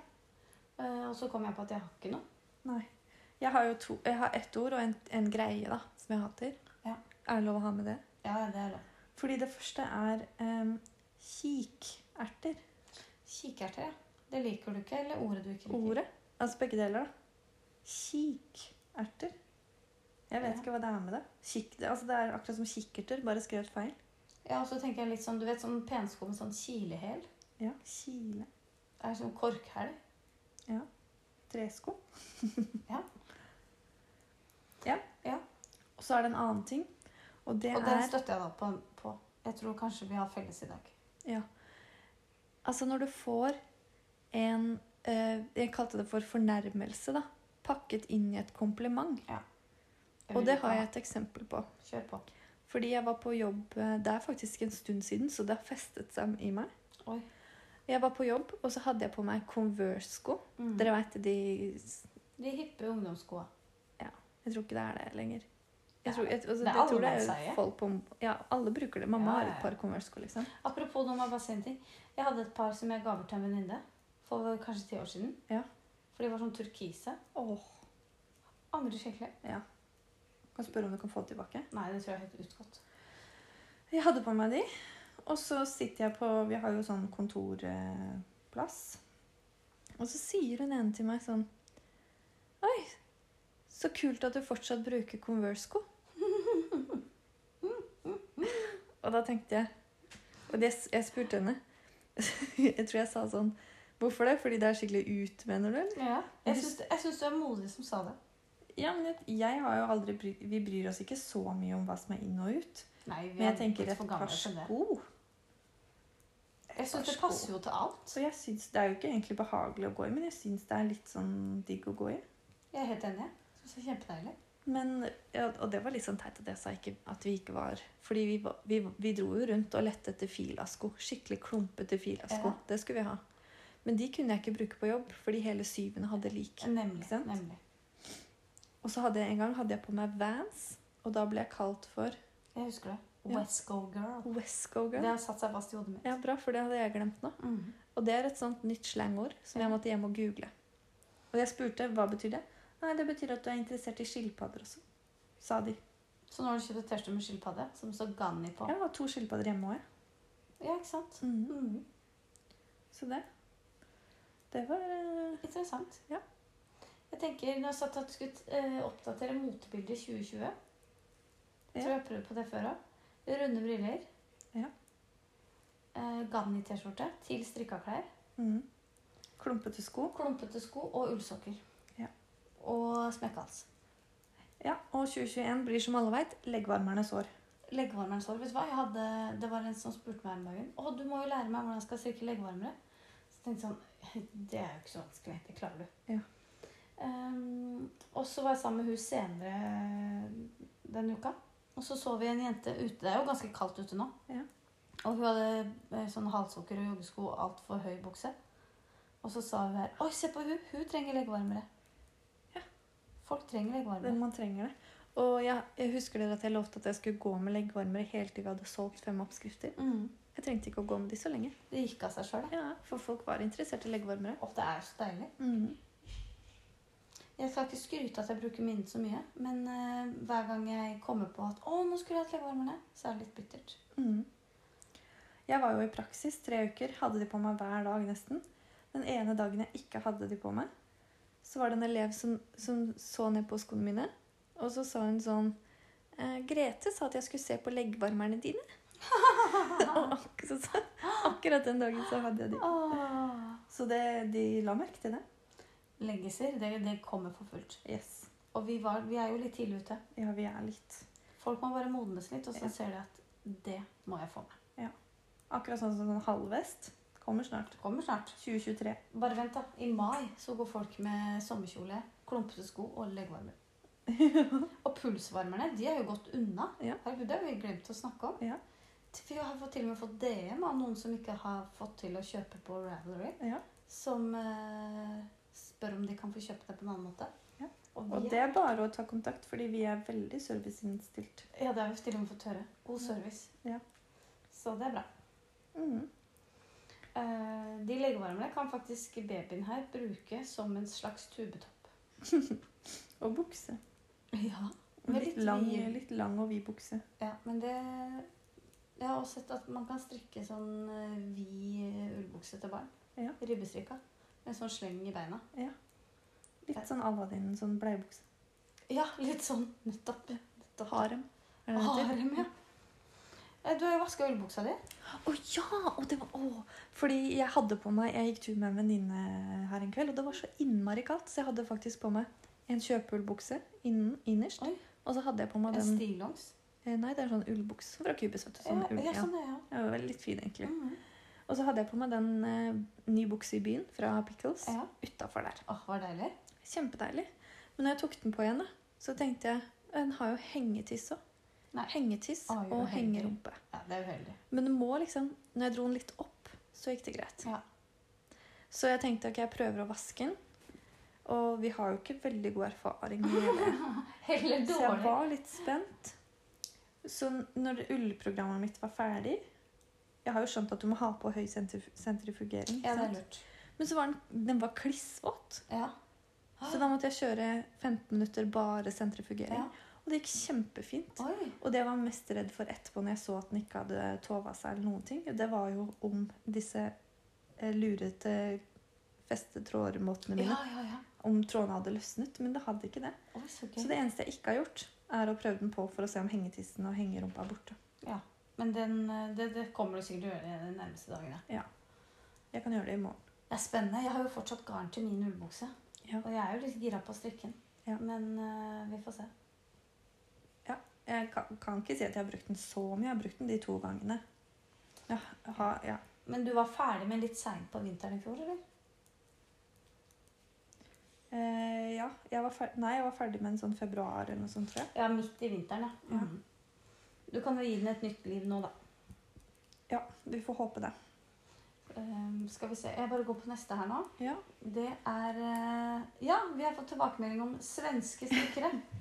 [SPEAKER 1] Eh, og så kom jeg på at jeg har ikke noe.
[SPEAKER 2] Nei. Jeg har jo to, jeg har ett ord og en, en greie da, som jeg hater.
[SPEAKER 1] Ja.
[SPEAKER 2] Er det lov å ha med det?
[SPEAKER 1] Ja, det er lov.
[SPEAKER 2] Fordi det første er em, kikerter.
[SPEAKER 1] Kikerter, ja. Det liker du ikke, eller ordet du ikke liker?
[SPEAKER 2] Ordet. Altså begge deler, da. Kikerter. Jeg vet
[SPEAKER 1] Ja.
[SPEAKER 2] ikke hva det er med det. Kik, det, altså det er akkurat som kikkerter, bare skrevet feil.
[SPEAKER 1] Ja, og så tenker jeg litt sånn, du vet sånn pensko med sånn kilehæl?
[SPEAKER 2] Ja. Kile.
[SPEAKER 1] Det er sånn korkhæl.
[SPEAKER 2] Tresko.
[SPEAKER 1] [LAUGHS] Ja.
[SPEAKER 2] ja.
[SPEAKER 1] Ja.
[SPEAKER 2] Og så er det en annen ting, og det
[SPEAKER 1] Og
[SPEAKER 2] er
[SPEAKER 1] den støtter jeg da på, på. Jeg tror kanskje vi har felles i dag.
[SPEAKER 2] Altså når du får en eh, Jeg kalte det for fornærmelse, da. Pakket inn i et kompliment.
[SPEAKER 1] Jeg
[SPEAKER 2] Og
[SPEAKER 1] vil
[SPEAKER 2] det
[SPEAKER 1] ikke
[SPEAKER 2] har
[SPEAKER 1] ha-
[SPEAKER 2] jeg et eksempel på.
[SPEAKER 1] Kjør på.
[SPEAKER 2] Fordi jeg var på jobb eh, Det er faktisk en stund siden, så det har festet seg i meg.
[SPEAKER 1] Oi.
[SPEAKER 2] Jeg var på jobb, og så hadde jeg på meg Converse-sko.
[SPEAKER 1] Mm.
[SPEAKER 2] Dere veit de Jeg
[SPEAKER 1] De hippe ungdomsskoa.
[SPEAKER 2] tror ikke det er det lenger.
[SPEAKER 1] Det
[SPEAKER 2] Jeg tror, jeg, altså,
[SPEAKER 1] det er
[SPEAKER 2] jeg tror det
[SPEAKER 1] allemannseie.
[SPEAKER 2] er folk på Ja, alle bruker det.
[SPEAKER 1] Ja,
[SPEAKER 2] Mamma har
[SPEAKER 1] ja,
[SPEAKER 2] et
[SPEAKER 1] ja.
[SPEAKER 2] par Converse-sko, liksom.
[SPEAKER 1] Apropos nå må jeg bare si en ting. Jeg hadde et par som jeg ga bort til en venninne. for kanskje ti år siden.
[SPEAKER 2] Ja.
[SPEAKER 1] For de var sånn turkise.
[SPEAKER 2] Åh,
[SPEAKER 1] Andre skikkelig.
[SPEAKER 2] kan spørre om du kan få det tilbake.
[SPEAKER 1] Nei, det tror jeg er helt utgått.
[SPEAKER 2] Jeg hadde på meg de. Og så sitter jeg på Vi har jo sånn kontorplass. Og så sier hun ene til meg sånn Oi, så kult at du fortsatt bruker Converse-sko. og da tenkte jeg Og det, jeg spurte henne. [LAUGHS] jeg tror jeg sa sånn Hvorfor det? Fordi det er skikkelig ut, mener du? eller?»
[SPEAKER 1] Ja. Jeg syns jeg syns du er modig som sa det.
[SPEAKER 2] Ja, men jeg, jeg har jo aldri bry, Vi bryr oss ikke så mye om hva som er inn og ut.
[SPEAKER 1] Nei, vi
[SPEAKER 2] Men jeg
[SPEAKER 1] er
[SPEAKER 2] tenker
[SPEAKER 1] litt
[SPEAKER 2] et
[SPEAKER 1] for
[SPEAKER 2] par
[SPEAKER 1] gamle til det.
[SPEAKER 2] sko
[SPEAKER 1] Jeg syns det passer jo til alt.
[SPEAKER 2] Så jeg syns det er jo ikke egentlig behagelig å gå i, men jeg syns det er litt sånn digg å gå i.
[SPEAKER 1] Jeg er helt enig. Jeg syns det er kjempedeilig.
[SPEAKER 2] Men, ja, og det var litt sånn teit at jeg sa ikke, at vi ikke var Fordi vi, var- vi, vi dro jo rundt og lette etter filasko. Skikkelig klumpete filasko.
[SPEAKER 1] Ja.
[SPEAKER 2] Det skulle vi ha. Men de kunne jeg ikke bruke på jobb, fordi hele syvende hadde like. Ikke
[SPEAKER 1] Nemlig.
[SPEAKER 2] sant?
[SPEAKER 1] nemlig.
[SPEAKER 2] Og så hadde jeg en gang hadde jeg på meg Vans, og da ble jeg kalt for
[SPEAKER 1] Jeg husker det.
[SPEAKER 2] Ja.
[SPEAKER 1] Wesco Girl.
[SPEAKER 2] Wesco
[SPEAKER 1] Det
[SPEAKER 2] Girl.
[SPEAKER 1] har satt seg fast i hodet mitt.
[SPEAKER 2] Ja, bra, for det hadde jeg glemt nå.
[SPEAKER 1] Mm.
[SPEAKER 2] Og det er et sånt nytt slangord som
[SPEAKER 1] Ja.
[SPEAKER 2] jeg måtte hjem og google. Og jeg spurte hva betyr det. Nei, det betyr at du er interessert i skilpadder også, sa de.
[SPEAKER 1] Så nå har du kjøpt et T-skjorte med skilpadde som det står Ganni på.
[SPEAKER 2] Jeg har to skilpadder hjemme òg, jeg.
[SPEAKER 1] Ja, ikke sant?
[SPEAKER 2] Mm.
[SPEAKER 1] Mhm.
[SPEAKER 2] Så det Det var eh,
[SPEAKER 1] Interessant.
[SPEAKER 2] Ja.
[SPEAKER 1] Jeg tenker, Når jeg satt at du skulle eh, oppdatere motebildet i 2020 Jeg tror jeg har prøvd på det før òg. Runde briller.
[SPEAKER 2] Ja.
[SPEAKER 1] Eh, Ganni-T-skjorte til strikka klær.
[SPEAKER 2] mm. Klumpete sko.
[SPEAKER 1] Klumpete sko og ullsokker.
[SPEAKER 2] Ja.
[SPEAKER 1] Og smekkehals.
[SPEAKER 2] Ja, og 2021 blir som alle veit leggvarmernes år.
[SPEAKER 1] Leggvarmerens år. Vet du hva? Jeg hadde, det var en som spurte meg her om dagen Å, du må jo lære meg hvordan jeg skal strikke leggvarmere. Så tenkte jeg sånn Det er jo ikke så vanskelig. Det klarer du.
[SPEAKER 2] Ja.
[SPEAKER 1] Ehm, og så var jeg sammen med hun senere den uka. Og så så vi en jente ute. Det er jo ganske kaldt ute nå.
[SPEAKER 2] Ja.
[SPEAKER 1] Og hun hadde eh, sånn halssokker og joggesko og altfor høy bukse. Og så sa hun her Oi, se på hun! Hun trenger leggvarmere.
[SPEAKER 2] Ja.
[SPEAKER 1] Folk trenger
[SPEAKER 2] Når
[SPEAKER 1] leggvarmere.
[SPEAKER 2] man trenger det. Og jeg, jeg husker dere at jeg lovte at jeg skulle gå med leggvarmere helt til vi hadde solgt fem oppskrifter.
[SPEAKER 1] Mm.
[SPEAKER 2] Jeg trengte ikke å gå med de så lenge.
[SPEAKER 1] Det gikk av seg sjøl, da.
[SPEAKER 2] Ja, For folk var interessert i leggvarmere.
[SPEAKER 1] Og det er så deilig.
[SPEAKER 2] Mm.
[SPEAKER 1] Jeg skal ikke skryte at jeg bruker minnet så mye, men eh, hver gang jeg kommer på at 'Å, nå skulle jeg hatt leggvarmerne', så er det litt bittert.
[SPEAKER 2] Mm. Jeg var jo i praksis tre uker, hadde de på meg hver dag nesten. Den ene dagen jeg ikke hadde de på meg, så var det en elev som, som så ned på skoene mine, og så sa hun sånn eh, Grete sa at jeg skulle se på leggvarmerne dine. [LAUGHS] og ak så, så, akkurat den dagen så hadde jeg de.
[SPEAKER 1] Åh.
[SPEAKER 2] Så det, de la merke til det.
[SPEAKER 1] Leggiser, det, det kommer for fullt.
[SPEAKER 2] Yes.
[SPEAKER 1] Og vi, var, vi er jo litt tidlig ute.
[SPEAKER 2] Ja, vi er litt
[SPEAKER 1] Folk må bare modnes litt, og så
[SPEAKER 2] Ja.
[SPEAKER 1] ser de at 'det må jeg få meg'.
[SPEAKER 2] Akkurat sånn som en halvvest. Kommer snart.
[SPEAKER 1] Det kommer snart.
[SPEAKER 2] 2023.
[SPEAKER 1] Bare vent, da. I mai så går folk med sommerkjole, klumpete sko og
[SPEAKER 2] [LAUGHS]
[SPEAKER 1] leggvarmer. og pulsvarmerne, de har jo gått unna.
[SPEAKER 2] Ja.
[SPEAKER 1] Herregud, det har vi glemt å snakke om.
[SPEAKER 2] Ja.
[SPEAKER 1] Vi har fått- til og med fått DM av noen som ikke har fått til å kjøpe på Ravelry.
[SPEAKER 2] Ja.
[SPEAKER 1] som eh, spør om de kan få kjøpt det på en annen måte.
[SPEAKER 2] Ja.
[SPEAKER 1] Og vi,
[SPEAKER 2] Og det er bare å ta kontakt, fordi vi er veldig serviceinnstilt.
[SPEAKER 1] Ja, det har vi til og med fått høre. God service.
[SPEAKER 2] Ja.
[SPEAKER 1] Så det er bra.
[SPEAKER 2] Mm.
[SPEAKER 1] Eh, de legevarmene kan faktisk babyen her bruke som en slags tubetopp.
[SPEAKER 2] Og bukse.
[SPEAKER 1] Ja,
[SPEAKER 2] Litt,
[SPEAKER 1] Med
[SPEAKER 2] litt,
[SPEAKER 1] litt
[SPEAKER 2] lang,
[SPEAKER 1] vid.
[SPEAKER 2] litt lang og vid bukse.
[SPEAKER 1] men det Jeg har også sett at man kan strikke sånn eh, vid ullbukse til barn.
[SPEAKER 2] Ja.
[SPEAKER 1] Ribbestrikka. Med sånn sleng i beina.
[SPEAKER 2] Litt sånn Aladdin, sånn bleiebukse.
[SPEAKER 1] Ja, litt sånn. Nettopp. nettopp.
[SPEAKER 2] Harem. Er det det heter?
[SPEAKER 1] Harem, ja. Eh, Du har jo vaska ullbuksa di.
[SPEAKER 2] Å ja! Og det var, å, fordi jeg hadde på meg Jeg gikk tur med en venninne her en kveld, og det var så innmari kaldt, så jeg hadde faktisk på meg en kjøpeullbukse innen, innerst.
[SPEAKER 1] Oi.
[SPEAKER 2] Og så hadde jeg på meg
[SPEAKER 1] En
[SPEAKER 2] den
[SPEAKER 1] stillongs.
[SPEAKER 2] eh, Nei, det er sånn ullbukse fra Cubus. Vet du, sånn ull,
[SPEAKER 1] ja, ja,
[SPEAKER 2] ja.
[SPEAKER 1] sånn er jeg.
[SPEAKER 2] Det var litt fin, egentlig.
[SPEAKER 1] Mm.
[SPEAKER 2] Og så hadde jeg på meg den eh, ny bukse i byen fra Pickles
[SPEAKER 1] Ja.
[SPEAKER 2] utafor der.
[SPEAKER 1] Åh, var det deilig?
[SPEAKER 2] Kjempedeilig. Men når jeg tok den på igjen, da, så tenkte jeg Den har jo hengetiss òg.
[SPEAKER 1] Nei.
[SPEAKER 2] Hengetiss
[SPEAKER 1] Å, jo,
[SPEAKER 2] og
[SPEAKER 1] heldig.
[SPEAKER 2] hengerumpe.
[SPEAKER 1] Ja, det er uheldig.
[SPEAKER 2] Men det må liksom Når jeg dro den litt opp, så gikk det greit.
[SPEAKER 1] Ja.
[SPEAKER 2] Så jeg tenkte ok, jeg prøver å vaske den. Og vi har jo ikke veldig god erfaring med
[SPEAKER 1] [LAUGHS]
[SPEAKER 2] det.
[SPEAKER 1] Heller
[SPEAKER 2] Så jeg
[SPEAKER 1] dårlig.
[SPEAKER 2] var litt spent. Så når ullprogrammet mitt var ferdig Jeg har jo skjønt at du må ha på høy sentrif- sentrifugering. ikke
[SPEAKER 1] Ja, det er
[SPEAKER 2] sant?
[SPEAKER 1] lurt.
[SPEAKER 2] Men så var den, den var klissvåt.
[SPEAKER 1] Ja.
[SPEAKER 2] Så da måtte jeg kjøre 15 minutter bare sentrifugering.
[SPEAKER 1] Ah, Ja.
[SPEAKER 2] Og det gikk kjempefint.
[SPEAKER 1] Oi.
[SPEAKER 2] Og det jeg var mest redd for etterpå, når jeg så at den ikke hadde tova seg, eller noen ting, det var jo om disse eh, lurete festetrådmåtene mine.
[SPEAKER 1] Ja, ja, ja.
[SPEAKER 2] Om trådene hadde løsnet. Men det hadde ikke det.
[SPEAKER 1] Oi, så
[SPEAKER 2] Så
[SPEAKER 1] gøy.
[SPEAKER 2] det eneste jeg ikke har gjort, er å prøve den på for å se om hengetissen og hengerumpa er borte.
[SPEAKER 1] Ja. Men den, eh, det, det kommer du sikkert til å gjøre de nærmeste dagene.
[SPEAKER 2] Jeg kan gjøre det i morgen.
[SPEAKER 1] Det er spennende. Jeg har jo fortsatt garn til min ullbukse.
[SPEAKER 2] Ja.
[SPEAKER 1] Og jeg er jo litt gira på å strikke den.
[SPEAKER 2] Ja.
[SPEAKER 1] Men eh, vi får se.
[SPEAKER 2] Jeg kan, kan ikke si at jeg har brukt den så mye. Jeg har brukt den de to gangene. Ja, jeg har- ja.
[SPEAKER 1] Men du var ferdig med litt seint på vinteren i fjor, eller?
[SPEAKER 2] Eh, ja jeg var ferdig, nei, jeg var ferdig med en sånn februar eller noe sånt, tror jeg.
[SPEAKER 1] Ja, midt i vinteren, ja.
[SPEAKER 2] Ja.
[SPEAKER 1] Mhm. Du kan jo gi den et nytt liv nå, da.
[SPEAKER 2] Ja, vi får håpe det.
[SPEAKER 1] Ehm, skal vi se. Jeg bare går på neste her nå.
[SPEAKER 2] Ja.
[SPEAKER 1] Det er eh, Ja, vi har fått tilbakemelding om svenske strikkere. Eh,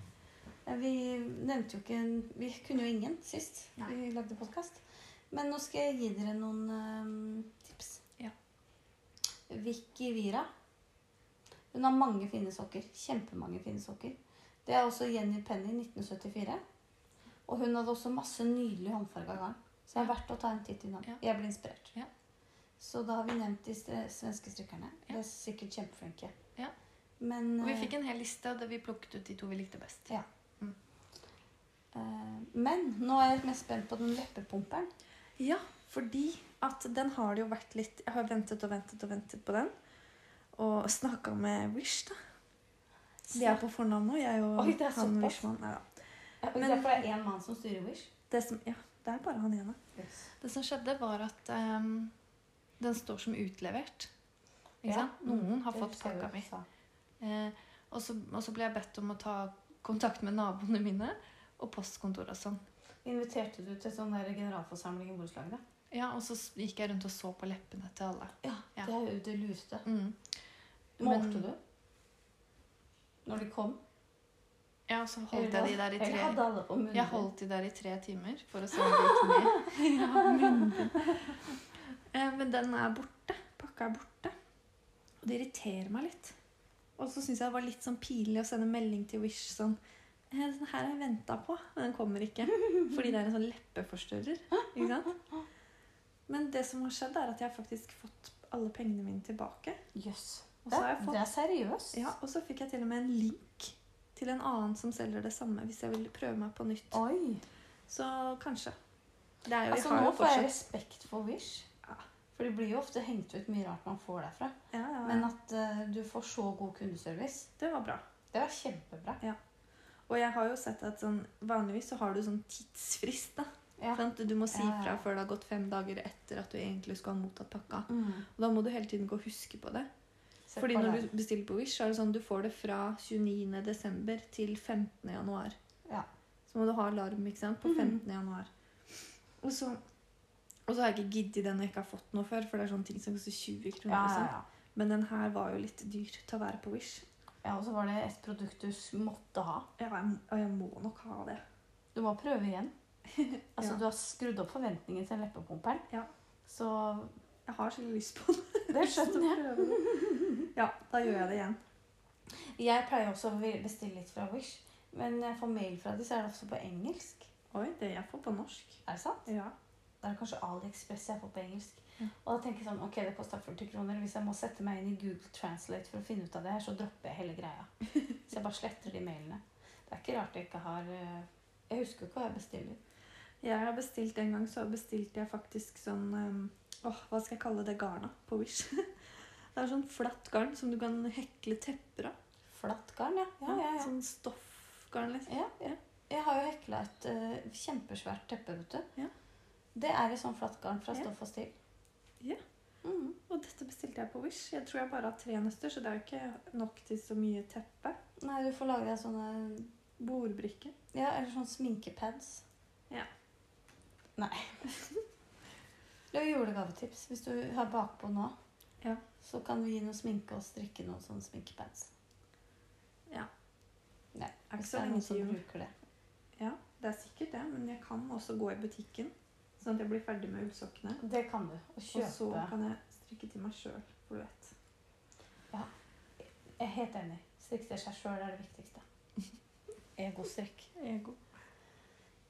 [SPEAKER 1] Vi nevnte jo ikke Vi kunne jo ingen sist vi lagde podkast. Men nå skal jeg gi dere noen eh, tips.
[SPEAKER 3] Ja.
[SPEAKER 1] Vicky Vira. Hun har mange fine sokker. Kjempemange fine sokker. Det er også Jenny Penny 1974. Og hun hadde også masse nydelig håndfarga garn. Så det er verdt å ta en titt innom.
[SPEAKER 3] Ja.
[SPEAKER 1] Jeg ble inspirert.
[SPEAKER 3] Ja.
[SPEAKER 1] Så da har vi nevnt de stre- svenske strikkerne.
[SPEAKER 3] Ja.
[SPEAKER 1] De er sikkert kjempeflinke.
[SPEAKER 3] Ja.
[SPEAKER 1] Men
[SPEAKER 3] Og vi
[SPEAKER 1] eh,
[SPEAKER 3] fikk en hel liste, og det vi plukket ut de to vi likte best.
[SPEAKER 1] Ja. eh, Men nå er jeg mest spent på den leppepumperen.
[SPEAKER 2] ja, fordi at den har det jo vært litt Jeg har ventet og ventet og ventet på den. Og snakka med Wish, da. Vi er på fornavn nå, jeg og
[SPEAKER 1] Oi, det er
[SPEAKER 2] han
[SPEAKER 1] såpass.
[SPEAKER 2] Wishman. Nei, da.
[SPEAKER 1] Ja, og
[SPEAKER 2] Men-
[SPEAKER 1] Derfor er det én mann som styrer Wish.
[SPEAKER 2] Det, som, ja, det er bare han ene.
[SPEAKER 3] Det som skjedde, var at ehm, den står som utlevert.
[SPEAKER 1] Ja.
[SPEAKER 3] Ikke sant? Noen har
[SPEAKER 1] Det
[SPEAKER 3] fått
[SPEAKER 1] husker jeg
[SPEAKER 3] pakka
[SPEAKER 1] du
[SPEAKER 3] mi.
[SPEAKER 1] sa.
[SPEAKER 3] Eh, og, så, og så ble jeg bedt om å ta kontakt med naboene mine og postkontoret og sånn.
[SPEAKER 1] Inviterte du til sånn der generalforsamling i borettslaget? da?
[SPEAKER 3] Ja, og så s- gikk jeg rundt og så på leppene til alle. Ja.
[SPEAKER 1] Det er jo det lureste.
[SPEAKER 3] Mm.
[SPEAKER 1] Målte
[SPEAKER 3] Men-
[SPEAKER 1] du? Når de kom?
[SPEAKER 3] Ja, og så holdt jeg de der i
[SPEAKER 1] Eller
[SPEAKER 3] tre
[SPEAKER 1] hadde alle på munnen?
[SPEAKER 3] Jeg holdt de der i tre timer for å se om de gikk ned.
[SPEAKER 2] [LAUGHS]
[SPEAKER 3] ja, munnbind. Eh, Men den er borte.
[SPEAKER 2] Pakka er borte. Og det irriterer meg litt. Og så syns jeg det var litt sånn pinlig å sende melding til Wish sånn «Eh, Den her har jeg venta på, men den
[SPEAKER 1] [LAUGHS]
[SPEAKER 2] kommer ikke. Fordi det er en sånn leppeforstørrer. Ikke sant?
[SPEAKER 1] [LAUGHS]
[SPEAKER 2] Men det som har skjedd, er at jeg har faktisk fått alle pengene mine tilbake.
[SPEAKER 1] Jøss.
[SPEAKER 2] Og
[SPEAKER 1] Det,
[SPEAKER 2] så har jeg fått-
[SPEAKER 1] det er seriøst.
[SPEAKER 2] Ja, og så fikk jeg til og med en link til en annen som selger det samme, hvis jeg vil prøve meg på nytt.
[SPEAKER 1] Oi.
[SPEAKER 2] Så kanskje. Det er jo,
[SPEAKER 1] Altså,
[SPEAKER 2] vi har
[SPEAKER 1] nå
[SPEAKER 2] jo
[SPEAKER 1] får jeg
[SPEAKER 2] fortsatt
[SPEAKER 1] respekt for Wish.
[SPEAKER 2] Ja.
[SPEAKER 1] For det blir jo ofte hengt ut mye rart man får derfra.
[SPEAKER 2] ja, ja,
[SPEAKER 1] Men
[SPEAKER 2] ja.
[SPEAKER 1] at eh, du får så god kundeservice,
[SPEAKER 2] Det var bra.
[SPEAKER 1] det var kjempebra.
[SPEAKER 2] Og jeg har jo sett at sånn, vanligvis så har du sånn tidsfrist. da.
[SPEAKER 1] Ja.
[SPEAKER 2] Sant? Du må si
[SPEAKER 1] Ja, ja.
[SPEAKER 2] fra før det har gått fem dager etter at du egentlig skulle ha mottatt pakka.
[SPEAKER 1] Mm.
[SPEAKER 2] Og da må du hele tiden gå og huske på det.
[SPEAKER 1] Sett
[SPEAKER 2] Fordi
[SPEAKER 1] på
[SPEAKER 2] når
[SPEAKER 1] den.
[SPEAKER 2] du bestiller på Wish, så er det sånn du får det fra 29. desember til 15. januar.
[SPEAKER 1] Ja.
[SPEAKER 2] Så må du ha alarm ikke sant, på
[SPEAKER 1] Mhm.
[SPEAKER 2] 15. januar. Og så, og så har jeg ikke giddet den jeg ikke har fått noe før, for det er sånne ting som koster 20 kroner.
[SPEAKER 1] ja,
[SPEAKER 2] og
[SPEAKER 1] ja,
[SPEAKER 2] sånn.
[SPEAKER 1] ja.
[SPEAKER 2] Men den her var jo litt dyr til å være på Wish.
[SPEAKER 1] ja, og så var det et produkt du s- måtte ha.
[SPEAKER 2] Ja, jeg, og jeg må nok ha det.
[SPEAKER 1] Du må prøve igjen. [LAUGHS] Altså,
[SPEAKER 2] Ja.
[SPEAKER 1] Du har skrudd opp forventningen til leppepumperen.
[SPEAKER 2] Ja.
[SPEAKER 1] Så
[SPEAKER 2] Jeg har skikkelig lyst på den.
[SPEAKER 1] det skjønner jeg.
[SPEAKER 2] [LAUGHS] Ja, da gjør jeg det igjen.
[SPEAKER 1] Jeg pleier også å bestille litt fra Wish, men jeg får mail fra dem, så er det ofte på engelsk.
[SPEAKER 2] Oi, det jeg får på norsk.
[SPEAKER 1] Er det sant?
[SPEAKER 2] Ja.
[SPEAKER 1] Da er det kanskje AliExpress jeg får på engelsk.
[SPEAKER 2] Ja.
[SPEAKER 1] Og da tenker jeg sånn, ok, det koster 40 kroner. Hvis jeg må sette meg inn i Google Translate for å finne ut av det her, så dropper jeg hele
[SPEAKER 2] [LAUGHS]
[SPEAKER 1] greia. Så jeg bare sletter de mailene. Det er ikke rart jeg ikke har eh, Jeg husker jo ikke hva jeg bestiller.
[SPEAKER 2] Jeg har bestilt en gang, så bestilte jeg faktisk sånn ehm, Åh, hva skal jeg kalle det garnet på Wish? [LAUGHS] det er sånn flatt garn som du kan hekle tepper av.
[SPEAKER 1] Flatt garn, ja. Ja, ja, ja.
[SPEAKER 2] Sånn stoffgarn, liksom.
[SPEAKER 1] ja, ja. Jeg har jo hekla et eh, kjempesvært teppe, vet du.
[SPEAKER 2] Ja.
[SPEAKER 1] Det er i sånn flatt garn fra
[SPEAKER 2] Ja.
[SPEAKER 1] stoff og stil.
[SPEAKER 2] Ja.
[SPEAKER 1] Mhm.
[SPEAKER 2] Og dette bestilte jeg på Wish. Jeg tror jeg bare har tre nøster, så det er jo ikke nok til så mye teppe.
[SPEAKER 1] Nei, du får lage deg sånne
[SPEAKER 2] Bordbrikke.
[SPEAKER 1] Ja, eller sånne sminkepads.
[SPEAKER 2] Ja.
[SPEAKER 1] Nei. [LAUGHS] Det er jo julegavetips. Hvis du har bakpå nå,
[SPEAKER 2] Ja.
[SPEAKER 1] så kan du gi noe sminke og strikke noen sånne sminkepads.
[SPEAKER 2] Er ikke
[SPEAKER 1] Hvis
[SPEAKER 2] så
[SPEAKER 1] det er
[SPEAKER 2] lenge
[SPEAKER 1] noen som
[SPEAKER 2] til jul.
[SPEAKER 1] bruker det.
[SPEAKER 2] Ja, det er sikkert det, men jeg kan også gå i butikken, sånn at jeg blir ferdig med ullsokkene.
[SPEAKER 1] Det kan du. Å
[SPEAKER 2] Og så
[SPEAKER 1] kjøpe.
[SPEAKER 2] kan jeg strikke til meg sjøl, for du vet.
[SPEAKER 1] Jeg er helt enig. Strikke til seg sjøl er det
[SPEAKER 2] [LAUGHS]
[SPEAKER 1] viktigste. Egostrikk.
[SPEAKER 3] Ego.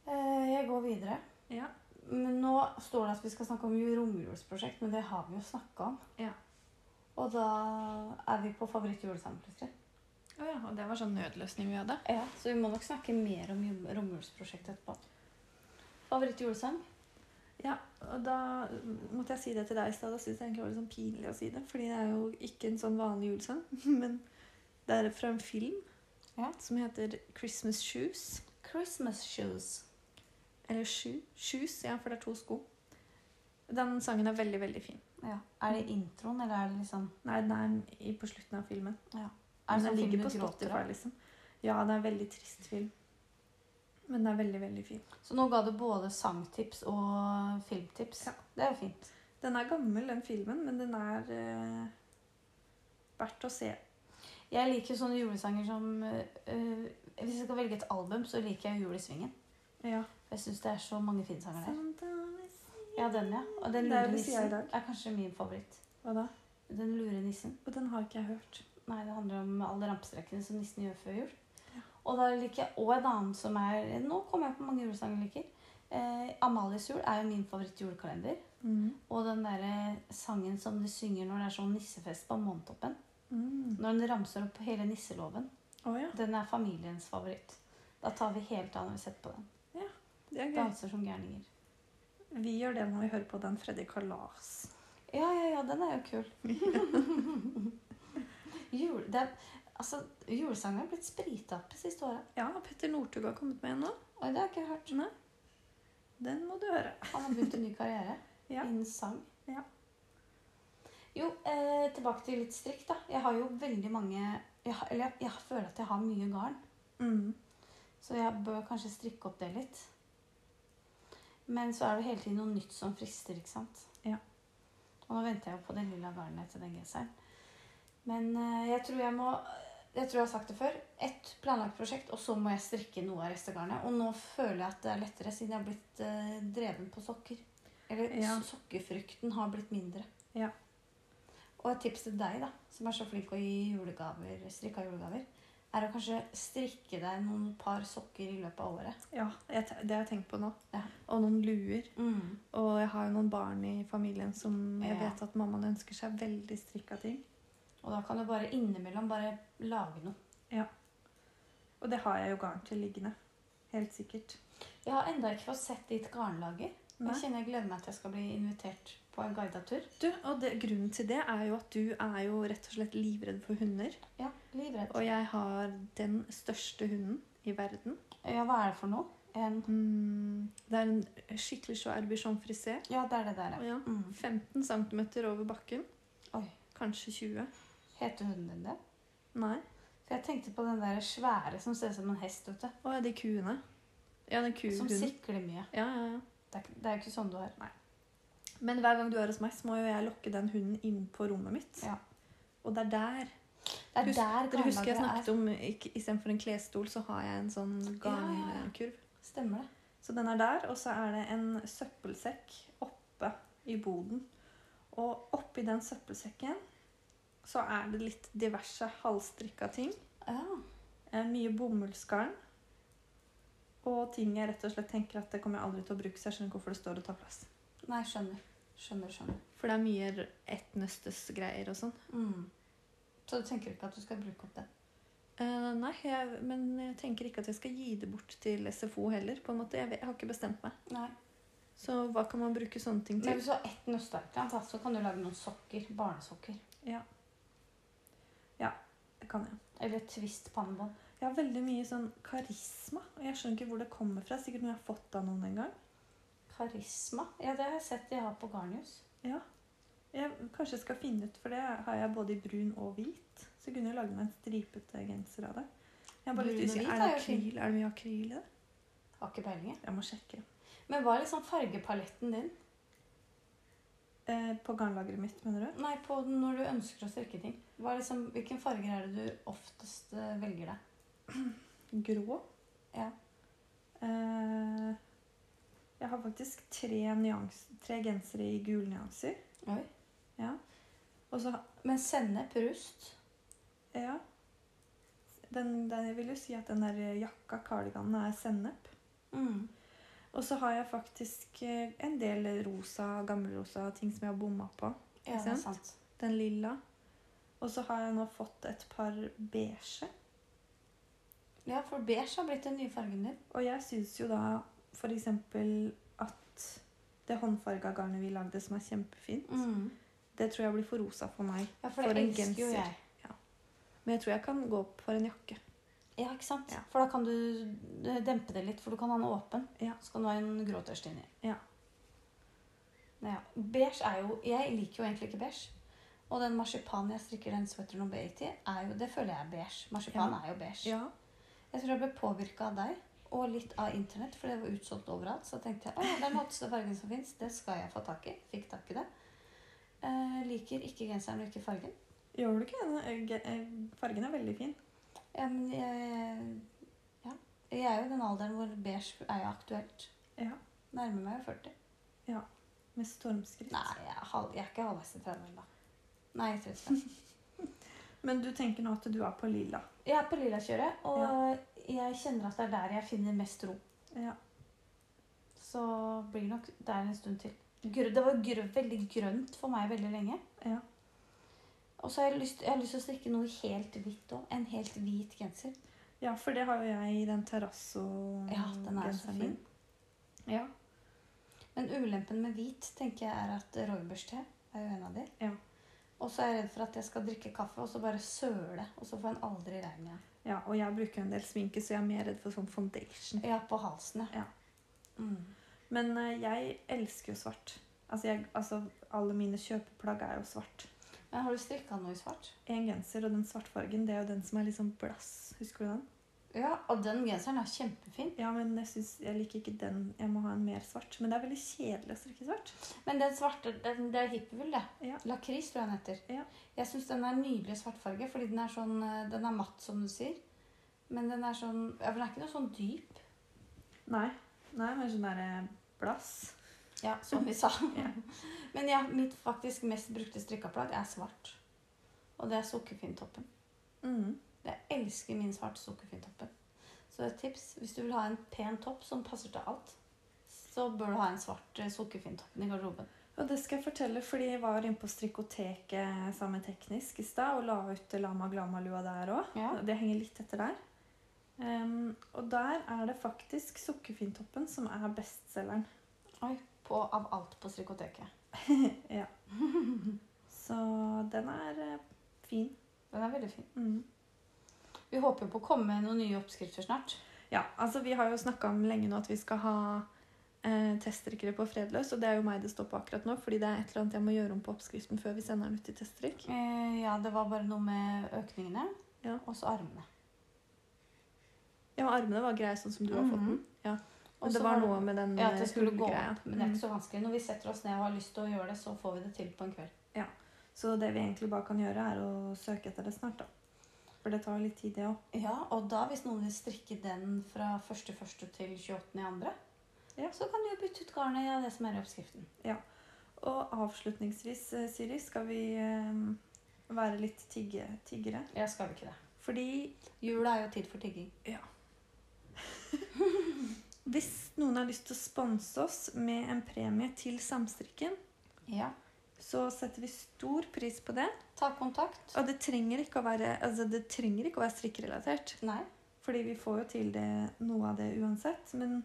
[SPEAKER 1] Eh, Jeg går videre.
[SPEAKER 3] Ja.
[SPEAKER 1] Men nå står det at vi skal snakke om romjulsprosjekt, men det har vi jo snakka om.
[SPEAKER 3] Ja.
[SPEAKER 1] Og da er vi på favorittjulesangplutselig.
[SPEAKER 3] Å ja. Og det var sånn nødløsning vi hadde.
[SPEAKER 1] Ja, så vi må nok snakke mer om jul- romjulsprosjektet etterpå. Favorittjulesang?
[SPEAKER 2] Ja, og da mm, måtte jeg si det til deg i stad. Da syntes jeg egentlig det var litt sånn pinlig å si det. Fordi det er jo ikke en sånn vanlig julesang. [LAUGHS] Men det er fra en film
[SPEAKER 1] Ja.
[SPEAKER 2] som heter 'Christmas Shoes'.
[SPEAKER 1] Christmas Shoes.
[SPEAKER 2] Eller shoe, shoes, ja, for det er to sko. Den sangen er veldig, veldig fin.
[SPEAKER 1] Ja. Er det introen, eller er det liksom
[SPEAKER 2] Nei, den er i- på slutten av filmen.
[SPEAKER 1] er
[SPEAKER 2] Men
[SPEAKER 1] det
[SPEAKER 2] den
[SPEAKER 1] sånn film
[SPEAKER 2] ligger
[SPEAKER 1] du
[SPEAKER 2] på
[SPEAKER 1] gråter
[SPEAKER 2] Spotify,
[SPEAKER 1] av?
[SPEAKER 2] liksom. Ja, det er en veldig trist film. Men den er veldig, veldig fin.
[SPEAKER 1] Så nå ga du både sangtips og filmtips.
[SPEAKER 2] Ja.
[SPEAKER 1] Det er jo fint.
[SPEAKER 2] Den er gammel, den filmen, men den er eh, verdt å se.
[SPEAKER 1] Jeg liker sånne julesanger som øh, Hvis jeg skal velge et album, så liker jeg Jul i Svingen.
[SPEAKER 2] Ja.
[SPEAKER 1] For jeg syns det er så mange fine sanger der.
[SPEAKER 2] Sometimes
[SPEAKER 1] Ja, den, ja. Og Den liksom-
[SPEAKER 2] Det er
[SPEAKER 1] lure
[SPEAKER 2] jo det sier jeg i
[SPEAKER 1] nissen
[SPEAKER 2] dag.
[SPEAKER 1] er kanskje min favoritt.
[SPEAKER 2] Hva da?
[SPEAKER 1] Den lure nissen.
[SPEAKER 2] Og den har ikke jeg hørt.
[SPEAKER 1] Nei, det handler om alle rampestrekene som nissen gjør før jul. Og da liker jeg òg en annen som er Nå kommer jeg på mange julesanger jeg liker. Eh, Amalies jul er jo min favorittjulekalender.
[SPEAKER 2] Mm.
[SPEAKER 1] Og den derre sangen som de synger når det er sånn nissefest på månetoppen.
[SPEAKER 2] Mm.
[SPEAKER 1] Når den ramser opp hele nisseloven.
[SPEAKER 2] Å ja.
[SPEAKER 1] Den er familiens favoritt. Da tar vi helt av når vi setter på den.
[SPEAKER 2] Det er gøy.
[SPEAKER 1] Danser som gærninger.
[SPEAKER 2] Vi gjør det når vi hører på den Freddy Kalas.
[SPEAKER 1] Ja, ja, ja, den er jo kul.
[SPEAKER 2] [LAUGHS]
[SPEAKER 1] Jul, det er, altså, julesangen er blitt sprita opp det siste året.
[SPEAKER 2] Ja, Petter Northug har kommet med en nå.
[SPEAKER 1] Oi, det har jeg ikke hørt.
[SPEAKER 2] Nei. Den må du høre.
[SPEAKER 1] Han har begynt en ny karriere
[SPEAKER 2] Ja.
[SPEAKER 1] innen sang.
[SPEAKER 2] Ja.
[SPEAKER 1] Jo, eh, tilbake til litt strikk, da. Jeg har jo veldig mange jeg, har- Eller jeg, jeg føler at jeg har mye garn,
[SPEAKER 2] Mm.
[SPEAKER 1] så jeg bør kanskje strikke opp det litt. Men så er det hele tiden noe nytt som frister, ikke sant?
[SPEAKER 2] Ja.
[SPEAKER 1] Og nå venter jeg jo på det lilla garnet til den genseren. Men eh, jeg tror jeg må Jeg tror jeg har sagt det før. Ett planlagt prosjekt, og så må jeg strikke noe av restegarnet. Og nå føler jeg at det er lettere, siden jeg har blitt eh, dreven på sokker. Eller
[SPEAKER 2] Ja.
[SPEAKER 1] so- sokkefrykten har blitt mindre.
[SPEAKER 2] Ja.
[SPEAKER 1] Og et tips til deg, da, som er så flink å gi julegaver, strikka julegaver, er å kanskje strikke deg noen par sokker i løpet av året.
[SPEAKER 2] Ja, jeg, te- det har jeg tenkt på nå.
[SPEAKER 1] Ja.
[SPEAKER 2] Og noen luer. Og jeg har jo noen barn i familien som jeg
[SPEAKER 1] Ja.
[SPEAKER 2] vet at mammaen ønsker seg veldig strikka ting.
[SPEAKER 1] Og da kan du bare innimellom bare lage noe.
[SPEAKER 2] Og det har jeg jo garn til liggende. Helt sikkert.
[SPEAKER 1] Jeg har enda ikke fått sett ditt garnlager. og
[SPEAKER 2] Nei.
[SPEAKER 1] Jeg kjenner jeg gleder meg til jeg skal bli invitert på en guidet tur.
[SPEAKER 2] Du, og det, grunnen til det er jo at du er jo rett og slett livredd for hunder.
[SPEAKER 1] Ja, livredd.
[SPEAKER 2] Og jeg har den største hunden i verden.
[SPEAKER 1] Ja, hva er det for noe? En...
[SPEAKER 2] Mm, det er en skikkelig svær bichon frisé.
[SPEAKER 1] Ja, det er det der, ja.
[SPEAKER 2] Ja.
[SPEAKER 1] Mm.
[SPEAKER 2] 15 cm over bakken.
[SPEAKER 1] Oi.
[SPEAKER 2] Kanskje 20.
[SPEAKER 1] Heter hunden din det?
[SPEAKER 2] Nei.
[SPEAKER 1] For jeg tenkte på den der svære som ser ut som en hest, vet du.
[SPEAKER 2] Å ja, de kuene. Ja, den
[SPEAKER 1] Som
[SPEAKER 2] kuhunden.
[SPEAKER 1] sikler mye.
[SPEAKER 2] Ja, ja, ja.
[SPEAKER 1] Det er, ikke- det er jo ikke sånn du har.
[SPEAKER 2] Men hver gang du er hos meg, så må jo jeg lokke den hunden inn på rommet mitt.
[SPEAKER 1] Ja.
[SPEAKER 2] Og det er der.
[SPEAKER 1] Det er
[SPEAKER 2] Husk-
[SPEAKER 1] der
[SPEAKER 2] Dere husker jeg
[SPEAKER 1] garnlageret
[SPEAKER 2] snakket om ikke- istedenfor en klesstol, så har jeg en sånn
[SPEAKER 1] Ja, ja, ja.
[SPEAKER 2] garnkurv.
[SPEAKER 1] er. Stemmer det.
[SPEAKER 2] Så den er der, og så er det en søppelsekk oppe i boden. Og oppi den søppelsekken så er det litt diverse halvstrikka ting.
[SPEAKER 1] Ja.
[SPEAKER 2] eh, Mye bomullsgarn. Og ting jeg rett og slett tenker at det kommer jeg aldri til å bruke, så jeg skjønner ikke hvorfor det står og tar plass.
[SPEAKER 1] Nei, skjønner. Skjønner, skjønner.
[SPEAKER 2] For det er mye ett nøstes greier og sånn.
[SPEAKER 1] Mm. Så du tenker ikke at du skal bruke opp den?
[SPEAKER 2] Eh, nei, jeg, men jeg tenker ikke at jeg skal gi det bort til SFO heller. på en måte. Jeg, vet, jeg har ikke bestemt meg.
[SPEAKER 1] Nei.
[SPEAKER 2] Så hva kan man bruke sånne ting
[SPEAKER 1] Men
[SPEAKER 2] til?
[SPEAKER 1] hvis du har ett nøstearkland, da, så kan du lage noen sokker. Barnesokker.
[SPEAKER 2] Det kan jeg.
[SPEAKER 1] Eller et twist pannebånd.
[SPEAKER 2] Jeg har veldig mye sånn karisma, og jeg skjønner ikke hvor det kommer fra. Sikkert noe jeg har fått av noen en gang.
[SPEAKER 1] Karisma. Ja, det har jeg sett de har på Garnius.
[SPEAKER 2] Jeg, kanskje jeg skal finne ut, for det har jeg både i brun og hvit. Så jeg kunne jo lage meg en stripete genser av det. Jeg er bare
[SPEAKER 1] Brun
[SPEAKER 2] litt
[SPEAKER 1] og
[SPEAKER 2] usikker.
[SPEAKER 1] hvit
[SPEAKER 2] Er det,
[SPEAKER 1] er jo
[SPEAKER 2] akryl? er det mye akryl i det?
[SPEAKER 1] Har ikke peiling, jeg.
[SPEAKER 2] Jeg må sjekke.
[SPEAKER 1] Men hva er liksom fargepaletten din?
[SPEAKER 2] Eh, på garnlageret mitt, mener du?
[SPEAKER 1] Nei, på den når du ønsker å strikke ting. Hva er liksom, hvilken farger er det du oftest eh, velger deg?
[SPEAKER 2] Grå.
[SPEAKER 1] Ja.
[SPEAKER 2] Eh, jeg har faktisk tre, nyans- tre gensere i gule nyanser.
[SPEAKER 1] Oi.
[SPEAKER 2] Ja. Og så
[SPEAKER 1] Men sennep, rust
[SPEAKER 2] Ja. Den, den, jeg vil jo si at den der jakka, kardiganen, er sennep.
[SPEAKER 1] mm.
[SPEAKER 2] Og så har jeg faktisk eh, en del rosa, gammelrosa ting som jeg har bomma på.
[SPEAKER 1] Ja,
[SPEAKER 2] Ikke
[SPEAKER 1] det er
[SPEAKER 2] sant?
[SPEAKER 1] sant.
[SPEAKER 2] Den lilla. Og så har jeg nå fått et par beige.
[SPEAKER 1] Ja, for beige har blitt den nye fargen din.
[SPEAKER 2] Og jeg syns jo da f.eks. at det håndfarga garnet vi lagde, som er kjempefint,
[SPEAKER 1] Mm.
[SPEAKER 2] det tror jeg blir for rosa for meg.
[SPEAKER 1] Ja, for
[SPEAKER 2] Mm. For
[SPEAKER 1] det
[SPEAKER 2] en
[SPEAKER 1] elsker jo
[SPEAKER 2] genser.
[SPEAKER 1] jeg.
[SPEAKER 2] Men jeg tror jeg kan gå opp for en jakke.
[SPEAKER 1] Ja, ikke sant?
[SPEAKER 2] Ja.
[SPEAKER 1] For da kan du eh, dempe det litt, for du kan ha den åpen.
[SPEAKER 2] Ja.
[SPEAKER 1] Så kan du ha en gråtørst inni.
[SPEAKER 2] Ja.
[SPEAKER 1] Ja. Beige er jo Jeg liker jo egentlig ikke beige. Og den marsipanen jeg strikker den sweater nummer 80, er jo, det føler jeg er beige. Marsipan er jo beige.
[SPEAKER 2] Ja.
[SPEAKER 1] Jeg tror jeg ble påvirka av deg og litt av internett, for det var utsolgt overalt. Så tenkte jeg at den hotteste fargen som fins, det skal jeg få tak i. Fikk tak i det. Eh, liker ikke genseren og ikke fargen.
[SPEAKER 2] Gjør du ikke det? Eh, ge- eh, Fargen er veldig fin.
[SPEAKER 1] Ja, men jeg, ja. jeg er jo i den alderen hvor beige er jo aktuelt.
[SPEAKER 2] Ja.
[SPEAKER 1] Nærmer meg jo 40.
[SPEAKER 2] Med stormskritt.
[SPEAKER 1] Nei, jeg er, halv, jeg er ikke halvveis i 30 da. Nei, 30.
[SPEAKER 2] Men du tenker nå at du er på lilla.
[SPEAKER 1] Jeg er på lillakjøret, og jeg kjenner at det er der jeg finner mest ro.
[SPEAKER 2] Ja.
[SPEAKER 1] Så blir det nok der en stund til. Gr- Det var grø veldig grønt for meg veldig lenge.
[SPEAKER 2] Ja.
[SPEAKER 1] Og så har jeg lyst, jeg har lyst til å strikke noe helt hvitt òg. En helt hvit genser.
[SPEAKER 2] ja, for det har jo jeg i den terrasso
[SPEAKER 1] Ja, Mm, den er så fin.
[SPEAKER 2] genseren min. Ja.
[SPEAKER 1] Men ulempen med hvit tenker jeg er at rooibørste er jo en av de.
[SPEAKER 2] Ja.
[SPEAKER 1] Og så er jeg redd for at jeg skal drikke kaffe og så bare søle, og så får en aldri regn igjen.
[SPEAKER 2] ja. Og jeg bruker jo en del sminke, så jeg er mer redd for sånn foundation.
[SPEAKER 1] Mm. Ja, på halsen,
[SPEAKER 2] Ja.
[SPEAKER 1] Mm.
[SPEAKER 2] Men eh, jeg elsker jo svart. Altså, jeg, altså alle mine kjøpeplagg er jo svart.
[SPEAKER 1] Men har du strikka noe i svart?
[SPEAKER 2] En genser og den svartfargen, det er jo den som er litt sånn blass. Husker du den?
[SPEAKER 1] Ja, og den genseren er kjempefin.
[SPEAKER 2] Ja, men jeg, synes, jeg liker ikke den. Jeg må ha en mer svart. Men det er veldig kjedelig å strikke svart.
[SPEAKER 1] Men den svarte, den, det er hippievull, det.
[SPEAKER 2] Ja.
[SPEAKER 1] Lakris, tror jeg den heter.
[SPEAKER 2] Ja.
[SPEAKER 1] Jeg syns den er nydelig svartfarge, fordi den er sånn eh, Den er matt, som du sier. Men den er sånn Ja, for den er ikke noe sånn dyp.
[SPEAKER 2] Nei. Nei, men sånn derre blass.
[SPEAKER 1] Ja, som vi sa.
[SPEAKER 2] Ja.
[SPEAKER 1] Men ja, mitt faktisk mest brukte strikkeplagg er svart. Og det er sukkerfinntoppen.
[SPEAKER 2] Mm.
[SPEAKER 1] Jeg elsker min svarte sukkerfinntoppen. Så et tips hvis du vil ha en pen topp som passer til alt, så bør du ha en svart eh, sukkerfinntoppen i garderoben.
[SPEAKER 2] Og det skal jeg fortelle, fordi jeg var inne på strikkoteket sammen med teknisk i stad og la ut Lama Glama-lua der òg.
[SPEAKER 1] Ja.
[SPEAKER 2] Det henger litt etter der. Ehm, og der er det faktisk sukkerfintoppen som er bestselgeren.
[SPEAKER 1] På, av alt på strikkoteket.
[SPEAKER 2] Så den er eh, fin.
[SPEAKER 1] Den er veldig fin.
[SPEAKER 2] Mm.
[SPEAKER 1] Vi håper jo på å komme med noen nye oppskrifter snart.
[SPEAKER 2] Ja, altså vi har jo snakka om lenge nå at vi skal ha eh, teststrikkere på Fredløs, og det er jo meg det står på akkurat nå, fordi det er et eller annet jeg må gjøre om på oppskriften før vi sender den ut i teststrikk.
[SPEAKER 1] Eh, ja, det var bare noe med økningene.
[SPEAKER 2] Ja.
[SPEAKER 1] Og så armene.
[SPEAKER 2] Ja, armene var greie sånn som du har fått den. Ja.
[SPEAKER 1] Mm. Og
[SPEAKER 2] Men
[SPEAKER 1] så
[SPEAKER 2] det var
[SPEAKER 1] var det-
[SPEAKER 2] noe med den
[SPEAKER 1] Ja, at
[SPEAKER 2] eh,
[SPEAKER 1] det skulle gå
[SPEAKER 2] hullgreia. Mm.
[SPEAKER 1] opp. Men det er ikke så vanskelig. Når vi setter oss ned og har lyst til å gjøre det, så får vi det til på en kveld.
[SPEAKER 2] Så det vi egentlig bare kan gjøre, er å søke etter det snart, da. For det tar jo litt tid, det òg.
[SPEAKER 1] Ja, og da hvis noen vil strikke den fra 1.1. til 28.2.,
[SPEAKER 2] Ja.
[SPEAKER 1] så kan du jo bytte ut garnet av det som er i oppskriften.
[SPEAKER 2] Og avslutningsvis, eh, Siri, skal vi eh, være litt tigge, tiggere.
[SPEAKER 1] Ja, skal vi ikke det?
[SPEAKER 2] Fordi
[SPEAKER 1] Jula er jo tid for tigging.
[SPEAKER 2] hvis noen har lyst til å sponse oss med en premie til samstrikken,
[SPEAKER 1] Ja.
[SPEAKER 2] så setter vi stor pris på det.
[SPEAKER 1] Ta kontakt.
[SPEAKER 2] Og det trenger ikke å være, altså, det trenger ikke å være strikkerelatert.
[SPEAKER 1] Nei.
[SPEAKER 2] Fordi vi får jo til det, noe av det uansett. Men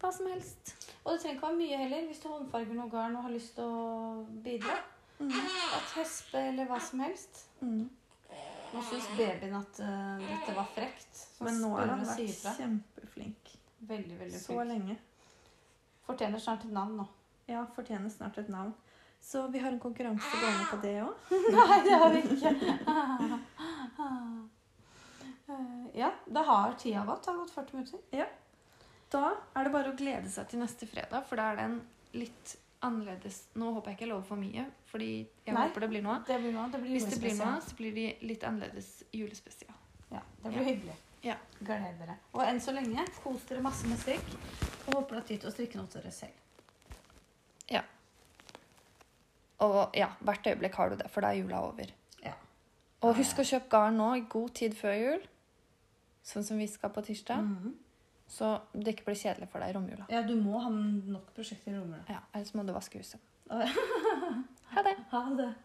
[SPEAKER 2] hva som helst.
[SPEAKER 1] Og det trenger ikke være mye heller hvis du håndfarger noe garn og har lyst til å bidra.
[SPEAKER 2] Mm.
[SPEAKER 1] Et hespe eller hva som helst.
[SPEAKER 2] Mm.
[SPEAKER 1] Nå syns babyen at eh, dette var frekt. Så
[SPEAKER 2] Men nå har
[SPEAKER 1] spør
[SPEAKER 2] han
[SPEAKER 1] og sier
[SPEAKER 2] vært
[SPEAKER 1] fra.
[SPEAKER 2] kjempeflink.
[SPEAKER 1] Veldig, veldig
[SPEAKER 2] Så
[SPEAKER 1] flink.
[SPEAKER 2] lenge.
[SPEAKER 1] Fortjener snart et navn nå.
[SPEAKER 2] Ja, fortjener snart et navn. Så vi har en konkurranse gående på det òg.
[SPEAKER 1] Nei, det har vi ikke. Eh, ja, det har tida gått. Det har gått 40 minutter.
[SPEAKER 2] Da er det bare å glede seg til neste fredag, for da er det en
[SPEAKER 3] Litt annerledes. Nå håper jeg ikke jeg lover for mye, fordi jeg
[SPEAKER 1] Nei.
[SPEAKER 3] håper det blir noe.
[SPEAKER 1] Det blir noe. Det blir
[SPEAKER 3] Hvis det blir
[SPEAKER 1] julespesial.
[SPEAKER 3] noe, så blir det litt annerledes julespesial.
[SPEAKER 1] Ja, det blir hyggelig.
[SPEAKER 3] Ja.
[SPEAKER 1] Gled dere. Og enn så lenge, kos dere masse med strikk. Og håper du har tid til å strikke noe til dere selv.
[SPEAKER 3] Og ja, hvert øyeblikk har du det, for da er jula over.
[SPEAKER 1] Ja.
[SPEAKER 3] Og husk å kjøpe garn nå, i god tid før jul. Sånn som vi skal på tirsdag.
[SPEAKER 1] Mhm.
[SPEAKER 3] Så det ikke blir kjedelig for deg i romjula.
[SPEAKER 1] Ja, du må ha nok prosjekter i romjula.
[SPEAKER 3] Ja, Ellers må du vaske huset.
[SPEAKER 1] Å,
[SPEAKER 3] Ha det!
[SPEAKER 1] Ha det.